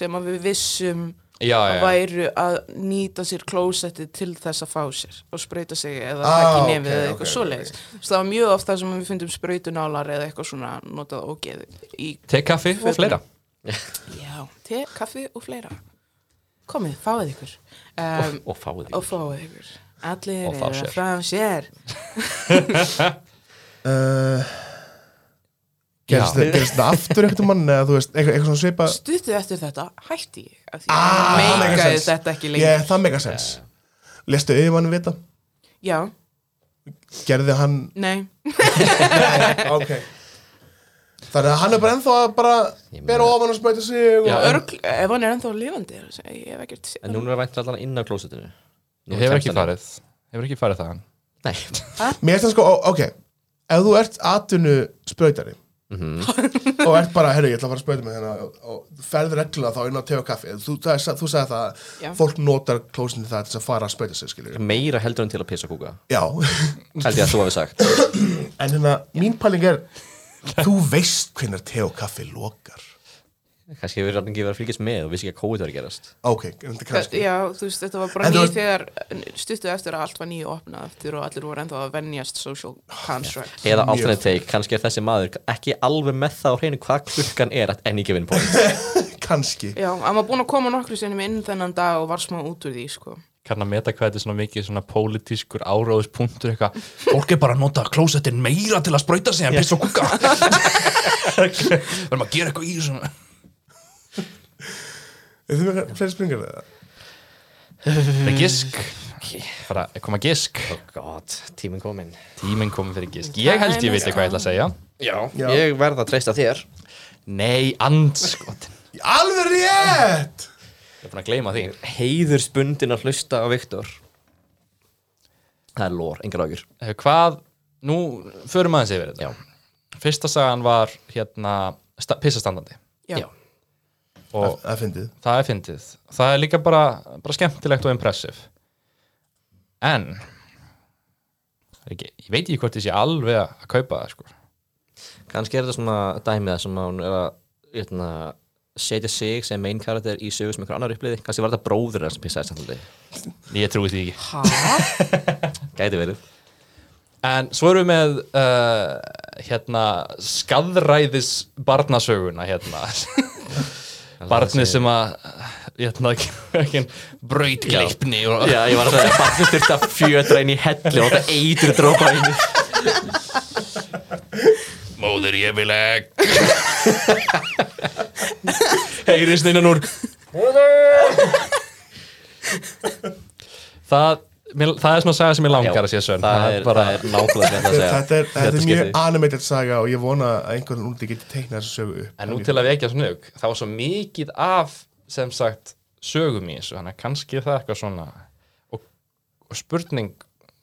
Speaker 4: sem að við vissum
Speaker 5: Já,
Speaker 4: að
Speaker 5: já.
Speaker 4: væru að nýta sér klósettið til þess að fá sér og sprauta sig eða
Speaker 3: Ah,
Speaker 4: taka í
Speaker 3: ok,
Speaker 4: nefið eða eitthvað
Speaker 3: ok,
Speaker 4: svoleiðis. Þú veist, það var mjög oft það sem við fundum sprautunálar eða eitthvað svona notað ógeð í,
Speaker 5: Te, kaffi og fleira
Speaker 4: já, te, kaffi og fleira. Komið, fáið ykkur. Um,
Speaker 2: Og fáið
Speaker 4: og
Speaker 2: því
Speaker 4: fáið ykkur. Allir
Speaker 2: Og
Speaker 4: eru
Speaker 2: fá
Speaker 4: að
Speaker 2: sér.
Speaker 4: fram sér.
Speaker 3: uh, gerist það- gerist það aftur eitthvað mann eða þú veist, eitthvað, eitthvað svona svipa
Speaker 4: Stuttu eftir þetta hætti ég. af því
Speaker 3: Ah,
Speaker 4: að ég meikaði þetta ekki lengi.
Speaker 3: yeah, það mega sens lestu yfirmann við þetta
Speaker 4: Já,
Speaker 3: gerði hann
Speaker 4: [LAUGHS] nei.
Speaker 3: okay. þannig að hann er bara ennþá að bara bera ofan og sprauta sig og...
Speaker 4: Já, örgl, ef hann er ennþá lifandi er að segja, ég hef ekkert séð
Speaker 2: En
Speaker 4: hann.
Speaker 2: núna er vænt allan inn á klósetinu Nú
Speaker 5: Ég hefur
Speaker 2: kemst
Speaker 5: ekki
Speaker 2: hann-
Speaker 5: farið Hefur ekki farið þaðan
Speaker 2: Nei,
Speaker 3: mér finnst það sko, ó, ok ef þú ert atvinnu sprautari
Speaker 4: Mhm.
Speaker 3: og ert bara, herru, ég ætla að fara að sprauta mig hérna, og- og ferð reglulega þá inn á te og kaffi þú, það, er- þú sagði það,
Speaker 4: Já.
Speaker 3: fólk notar klósinni það til þess að fara að sprauta sig, skiljum
Speaker 2: meira heldur en til að pissa og kúka
Speaker 3: já,
Speaker 2: Held ég að þú hafi sagt
Speaker 3: En hérna, mín pæling er Þú veist hvenær te og kaffi lokar
Speaker 2: Kannski hefur hann ekki verið að fylgjast með og vissi ekki að kóið var að gerast
Speaker 3: Ok, en þetta kannski
Speaker 4: Já, þú veist, þetta var bara
Speaker 3: En þú
Speaker 4: nýtt
Speaker 3: veist-
Speaker 4: þegar stuttu eftir að allt var nýju opnað eftir og allir voru ennþá að venjast social contract.
Speaker 2: Eða alternate take, kannski er þessi maður ekki alveg með það á hreinu hvað klukkan er at any given point
Speaker 3: Kannski
Speaker 4: Já, hann var búin að koma nokkru sinnum inn þennan dag og var smá út úr því, sko.
Speaker 5: kann að meta hvað þetta er svona mikið svona pólitískur áráðuspunktur eitthvað fólk er bara að nota klósettin meira til að sprauta sig en piss og [LAUGHS] kúka verðum að gera eitthvað í þessum
Speaker 3: Er þið með fleiri springar eða?
Speaker 5: Það gisk fara að koma gisk
Speaker 2: Oh god, tíminn kominn
Speaker 5: tíminn komið fyrir gisk ég held ég viti hvað ég ætla að segja
Speaker 2: Já,
Speaker 3: Já.
Speaker 2: ég verð að treysta þér
Speaker 5: nei, andskotin
Speaker 3: Alveg rétt!
Speaker 5: ég er búin að gleyma því
Speaker 2: Heiður spundin að hlusta á Viktor Það er lór, engar ágjur
Speaker 5: Eh, hvað, nú förum aðeins yfir þetta
Speaker 2: Já.
Speaker 5: fyrsta sagan var hérna sta, pissastandandi
Speaker 4: Já.
Speaker 2: Já.
Speaker 5: og
Speaker 3: Það fyndið.
Speaker 5: það er fyndið það er líka bara, bara skemmtilegt og impressive en það er ekki, ég veit ekki hvort ég sé alveg að kaupa það sko.
Speaker 2: Kannski er þetta svona dæmið það sem að hún er að eitna, setja sig sem main karakter í sögu sem einhver annar upplýði Kannski var þetta bróður hans sem pissaði samtaldi
Speaker 5: ég trúi því ekki
Speaker 4: Ha?
Speaker 2: Gæti verið
Speaker 5: en svo erum við með uh, hérna skadræðis barnasöguna
Speaker 2: [LAUGHS]
Speaker 5: hérna barnið sem að hérna ekki brautgleipni og
Speaker 2: Já, ég var að segja, Barnið þurfti að fjötra inn í helli og þetta eitur drópa inn í
Speaker 5: móður ég vil ekki heyrist innan úr það mér, það er svona saga sem ég langar að sé sönn
Speaker 2: Það er,
Speaker 5: bara
Speaker 2: það er nákvæmlega þetta að segja
Speaker 3: Þetta er, þetta er
Speaker 2: skipti.
Speaker 3: mjög animated saga og ég vona að einhvern úti geti teiknað þessu sögu upp.
Speaker 5: en nú til að vekja snögg það var svo mikið af sem sagt sögum í þessu þannig að kannski er það eitthvað svona og, og spurning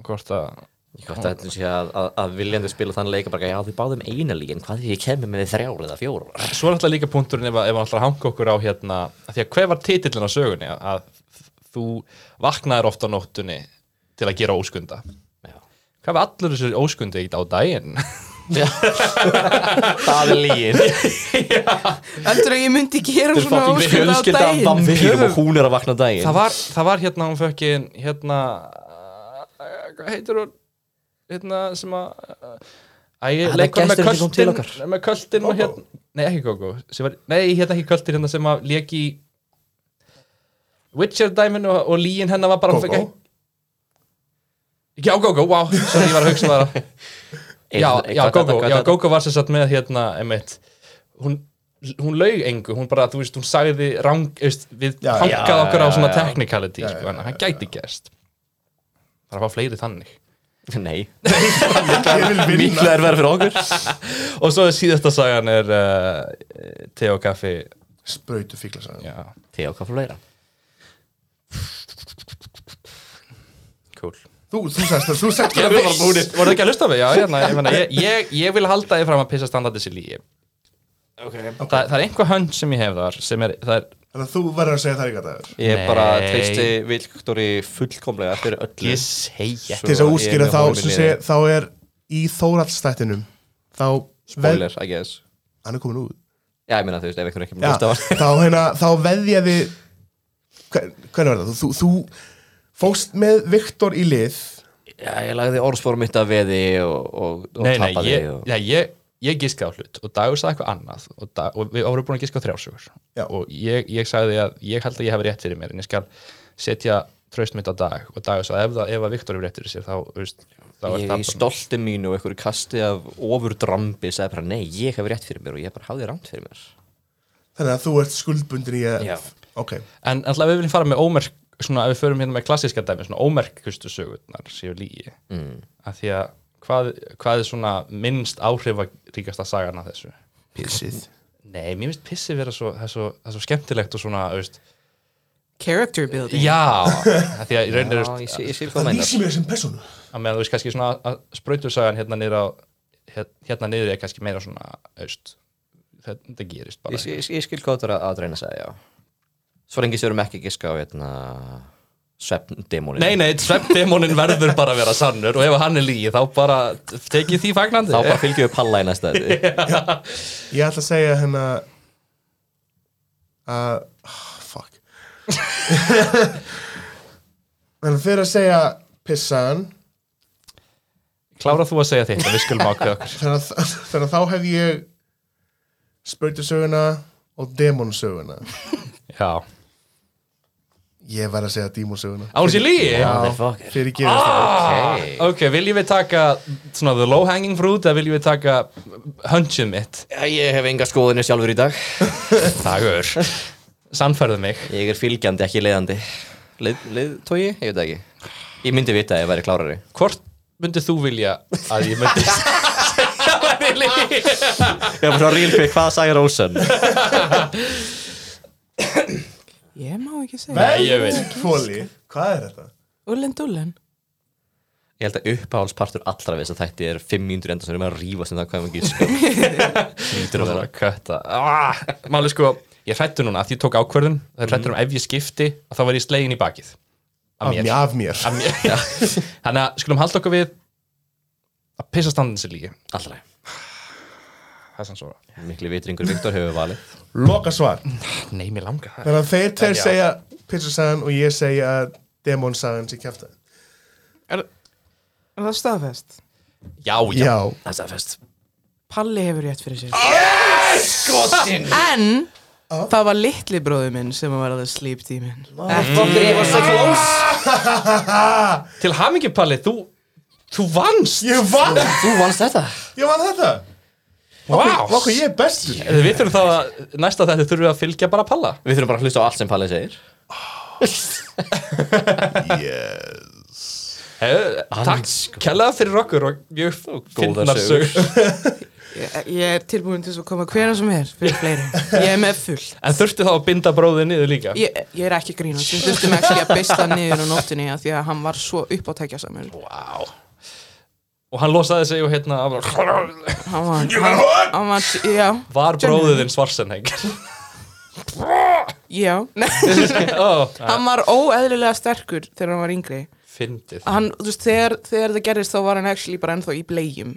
Speaker 5: hvort að
Speaker 2: Ég gott að þetta sé að, að, að viljandi spila þann leika bara, já þið báðum eina líkin, hvað því ég kemur með þið þrjár eða fjórar?
Speaker 5: svo er alltaf líka punkturinn ef, að- ef hann alltaf hanga okkur á hérna af því að hver var titillin á sögunni að, að þú vaknaðir oft á nóttunni til að gera óskunda
Speaker 2: Já.
Speaker 5: hvað var allur þessu óskundi ekkert á daginn
Speaker 2: Það er líkin.
Speaker 4: Heldur að ég myndi gera
Speaker 2: Þetta er
Speaker 4: svona
Speaker 2: fucking
Speaker 4: óskunda á
Speaker 2: fjölskylda af
Speaker 4: daginn
Speaker 2: vampýrum og hún er að vakna á daginn.
Speaker 5: það var, það var hérna hún fökkin hérna eh, hvað heitir hún hérna sem að Æ,
Speaker 2: Ah,
Speaker 5: leikur með
Speaker 2: gesturinn sem kom til
Speaker 5: kvöldin með kvöldin og hérna nei ekki Gogo sem var, nei hérna ekki kvöldin hérna sem að lék í Witcher dæminu og, og líin hennar var bara hún
Speaker 3: Gógó?
Speaker 5: fékk ekki- Já, Gogo, wow, sorry, ég var að hugsa það [LAUGHS] Já, já, Gogo, já, Gogo var sem sagt með hérna, emitt hún, hún laug engu, hún bara, þú veist, hún sagði rang, veist, við
Speaker 3: Já,
Speaker 5: fangað
Speaker 2: já,
Speaker 5: okkur á
Speaker 2: já,
Speaker 5: svona
Speaker 2: já.
Speaker 5: technicality,
Speaker 3: Já, já,
Speaker 5: sko, en hann gæti gerst Það er að fá fleiri þannig
Speaker 2: Nei,
Speaker 3: ég vil
Speaker 2: mikla
Speaker 3: vinna.
Speaker 2: er verið fyrir okkur.
Speaker 5: Og svo síðasta sagan er uh, te og kaffi
Speaker 3: Sprautu fíkla saga.
Speaker 5: Já,
Speaker 2: Þegar okkar fyrir fleira.
Speaker 5: cool
Speaker 3: Þú, þú sagðist það, þú sagðist það.
Speaker 5: Ég var búin Voruð þið ekki að hlusta á mig? Já, hérna, ég, meina, ég, ég, ég vil halda þið fram að pissa standardis í líi okay. Þa, Það er einhver hönd sem ég hef þar sem er, það er
Speaker 3: Þannig að þú verður að segja það líka dagur.
Speaker 2: Ég bara
Speaker 5: Nei.
Speaker 2: treysti Viktori fullkomlega fyrir öllu.
Speaker 5: Ég segja
Speaker 3: Til þess að
Speaker 2: Svo
Speaker 3: útskýra
Speaker 2: ég
Speaker 3: þá,
Speaker 2: horfi
Speaker 3: sem
Speaker 2: niður.
Speaker 3: sé, þá er í Þóraldsstættinum, þá... veð-
Speaker 2: Spoiler, I guess.
Speaker 3: Hann er komin út.
Speaker 2: Já, ég meina þú veist, ef einhvern ekki mér
Speaker 3: Já,
Speaker 2: hlusta á
Speaker 3: þá, hérna, þá veðjaði hvernig var það? Þú, þú fóst með Viktor í lið
Speaker 2: Já, ég lagði orðspor mitt að veði og, og, og
Speaker 5: nei, nei,
Speaker 2: tapaði
Speaker 5: ég,
Speaker 2: og...
Speaker 5: nei, ég, ég giskaði á hlut og Dagur sagði eitthvað annað og, dag, og við vorum búin að giska á þrjársugur
Speaker 3: Já.
Speaker 5: og ég, ég sagði að ég held að ég hef rétt fyrir mér en ég skal setja traust mitt á dag og Dagur sagði ef, það, ef að Viktor hefur rétt fyrir sér þá, veist, þá er
Speaker 2: Ég í
Speaker 5: það
Speaker 2: stolti mínu og einhverju kasti af ovurdrambi sagði bara nei, ég hef rétt fyrir mér og ég bara hafði rámt fyrir mér
Speaker 3: þannig að þú ert skuldbundin í að
Speaker 2: Já.
Speaker 3: ok,
Speaker 5: en alltaf við viljum fara með ómerk svona ef við förum hérna með klassíska dæmi svona ómerkustu sögurnar séu lígi mm. af því að hvað, hvað er svona minnst áhrifaríkasta sagan af þessu
Speaker 3: pissið
Speaker 5: Nei, mér finnst pissi vera svo, það er svo, það er svo skemmtilegt og svona, veist,
Speaker 4: Character building
Speaker 5: Já, [LAUGHS] af því að í rauninu
Speaker 2: Já, ég sé, ég sé hvað
Speaker 3: það
Speaker 2: meinar
Speaker 3: lýsir mér sem persónu
Speaker 5: að meðan þú veist kannski svona að sprautursagan hérna niður á hér- hérna niður er kannski meira svona aust, þetta gerist bara
Speaker 2: Ég, sé- ég, sé- ég skil hvað þú er að, að reyna að segja, já Svo lengi sem við erum ekki að giska á hérna svefndemónin
Speaker 5: Nei, nei, sveppdémonin verður bara að vera sannur og ef hann er lígi þá bara tekið því fagnandi
Speaker 2: Þá bara fylgjum við palla í næsta þetta
Speaker 3: ég ætla að segja hérna að ah, fuck [LAUGHS] þannig að fyrir að segja pissan
Speaker 5: Klára þú að segja þitt að við skulum ákveða okkur
Speaker 3: þannig að, þannig að þá hef ég spöytusöguna og demonsöguna
Speaker 5: [LAUGHS] Já,
Speaker 3: ég verð að segja dímonsöguna
Speaker 5: án sér lígi
Speaker 2: Motherfucker
Speaker 3: fyrir gefast
Speaker 5: Ok, viljum við taka svona the low hanging fruit eða viljum við taka hunchið mitt
Speaker 2: [LAUGHS] Já, Ég hef enga skoðinu sjálfur í dag
Speaker 5: Dagur, sannferðu mig
Speaker 2: Ég er fylgjandi, ekki leiðandi Leið, leiðtogi? Ég veit það ekki Ég myndi vita að ég væri klárari
Speaker 1: Hvort myndið þú vilja að ég [LAUGHS] myndi segja manni líka?
Speaker 2: Ég var frá Rílkvið, hvað sagði Rósan?
Speaker 4: Ég má ekki segja.
Speaker 1: Nei, ég veit.
Speaker 3: Fóli, hvað er þetta?
Speaker 4: Ullen dullen.
Speaker 2: Ég held að uppáhaldspartur allra við þess að þetta er 5 mínútur enda sem við erum að rífast um það hvað við gísum
Speaker 1: Lítur að vera að kötta. Ah, Máli sko, ég hrættu núna að því ég tók ákvörðun. Það er hrættur um ef ég skipti að þá væri ég slegin í bakið. Af
Speaker 3: Af
Speaker 1: mér.
Speaker 3: mér, af mér.
Speaker 1: Af mér. [LAUGHS] Þannig að skulum halda okkur við að pissa standin sér líki.
Speaker 2: Allra,
Speaker 1: Það er sann svo.
Speaker 2: miklu vitringur Viktor hefur valið
Speaker 3: Loka svar.
Speaker 1: Nei, mér langar það.
Speaker 3: Þannig að þeir tveir
Speaker 1: Já.
Speaker 3: segja pizzasagan og ég segja demonsagan sem kæfta.
Speaker 4: Er, er það staðfest?
Speaker 1: Já, já.
Speaker 3: Já.
Speaker 2: Það er staðfest
Speaker 4: Palli hefur rétt fyrir sér. Yes! Skotin! En... Það var litli bróðu minn sem var að sleep tíminn.
Speaker 1: Til hamingi, Palli, þú, þú vannst.
Speaker 3: Ég vann,
Speaker 2: Þú vannst þetta
Speaker 3: ég vann þetta.
Speaker 1: Vá.
Speaker 3: Hvað hvað ég er bestur?
Speaker 1: Við þurfum þá að, næsta þetta þurfum við að fylgja bara Palla.
Speaker 2: Við þurfum bara að hlusta á allt sem Palli segir
Speaker 3: Yes.
Speaker 1: Hef, Eh, takk kjallaða fyrir okkur og mjög
Speaker 2: góðar
Speaker 1: finnar sko. sögur
Speaker 4: Ég, ég er tilbúin til að koma hvena sem er fyrir fleiri. Ég er með full.
Speaker 1: En þurfti þá að binda bróðið niður líka
Speaker 4: Ég, ég er ekki að grínast. Við þurftum ekki að beista niður á nóttinni af því að hann var svo uppátækja samur.
Speaker 1: wow. Og hann losaði sig og hérna hann bara-
Speaker 4: Hann var... Hann, hann var... Já.
Speaker 1: Var bróðiðinn svarsenheng
Speaker 2: [LAUGHS]
Speaker 4: Já. [LAUGHS] Nei,
Speaker 1: oh,
Speaker 4: hann var óeðlilega sterkur þegar hann var yngri.
Speaker 1: Fyndið
Speaker 2: Ah,
Speaker 4: hann, þú veist, þegar, þegar það gerist þá var hann actually bara ennþá í blegjum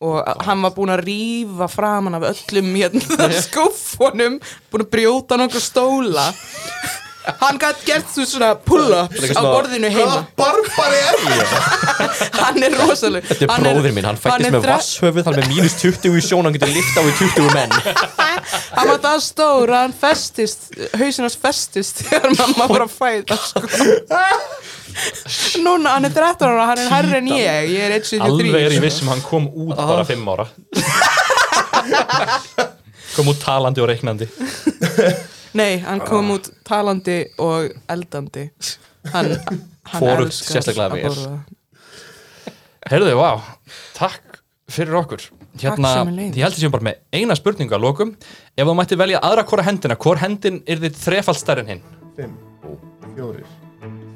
Speaker 2: Oh
Speaker 4: og hann var búinn að rífa framan af öllum
Speaker 2: [LAUGHS]
Speaker 4: hérna skófunum, búinn að brjóta nokkuð stóla hann gætt gert þú svona pull-up á borðinu heima,
Speaker 3: Hvaða
Speaker 2: [LAUGHS]
Speaker 3: barbari er ég?
Speaker 4: hann er rosaleg
Speaker 2: Þetta er bróðir minn, hann fættist með vasshöfuð Hann er með mínus 20 í sjón, hann getur lift á í 20 [LAUGHS] menn
Speaker 4: hann var það stór að hann festist hausin hans festist [LAUGHS] þegar mamma var að
Speaker 2: Oh
Speaker 4: fæða sko. [LAUGHS] núna, hann er 13 ára hann er hærri en ég, ég er 1.73
Speaker 1: Alveg er ég vissum hann kom út
Speaker 2: Ah.
Speaker 1: bara fimm ára [LAUGHS] Kom út talandi og reiknandi
Speaker 4: Nei, hann kom út talandi og eldandi Hann, hann
Speaker 2: Hvorugt
Speaker 4: elskar
Speaker 2: sérstaklega
Speaker 4: að
Speaker 2: vel.
Speaker 4: borða.
Speaker 1: Herðu, vá, takk fyrir okkur Hérna,
Speaker 4: sömuleiðis.
Speaker 1: ég held að séum bara með eina spurningu að lokum Ef þú mætti velja aðra hvora hendina, hvor hendin er þitt þrefald stærri en hinn?
Speaker 3: Fimm, fjórir,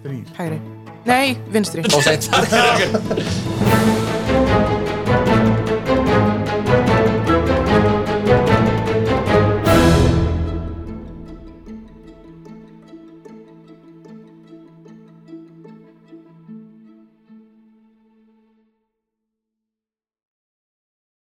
Speaker 3: þrýr.
Speaker 4: Hægri Nei, vinstri
Speaker 2: Og sett
Speaker 1: Takk fyrir okkur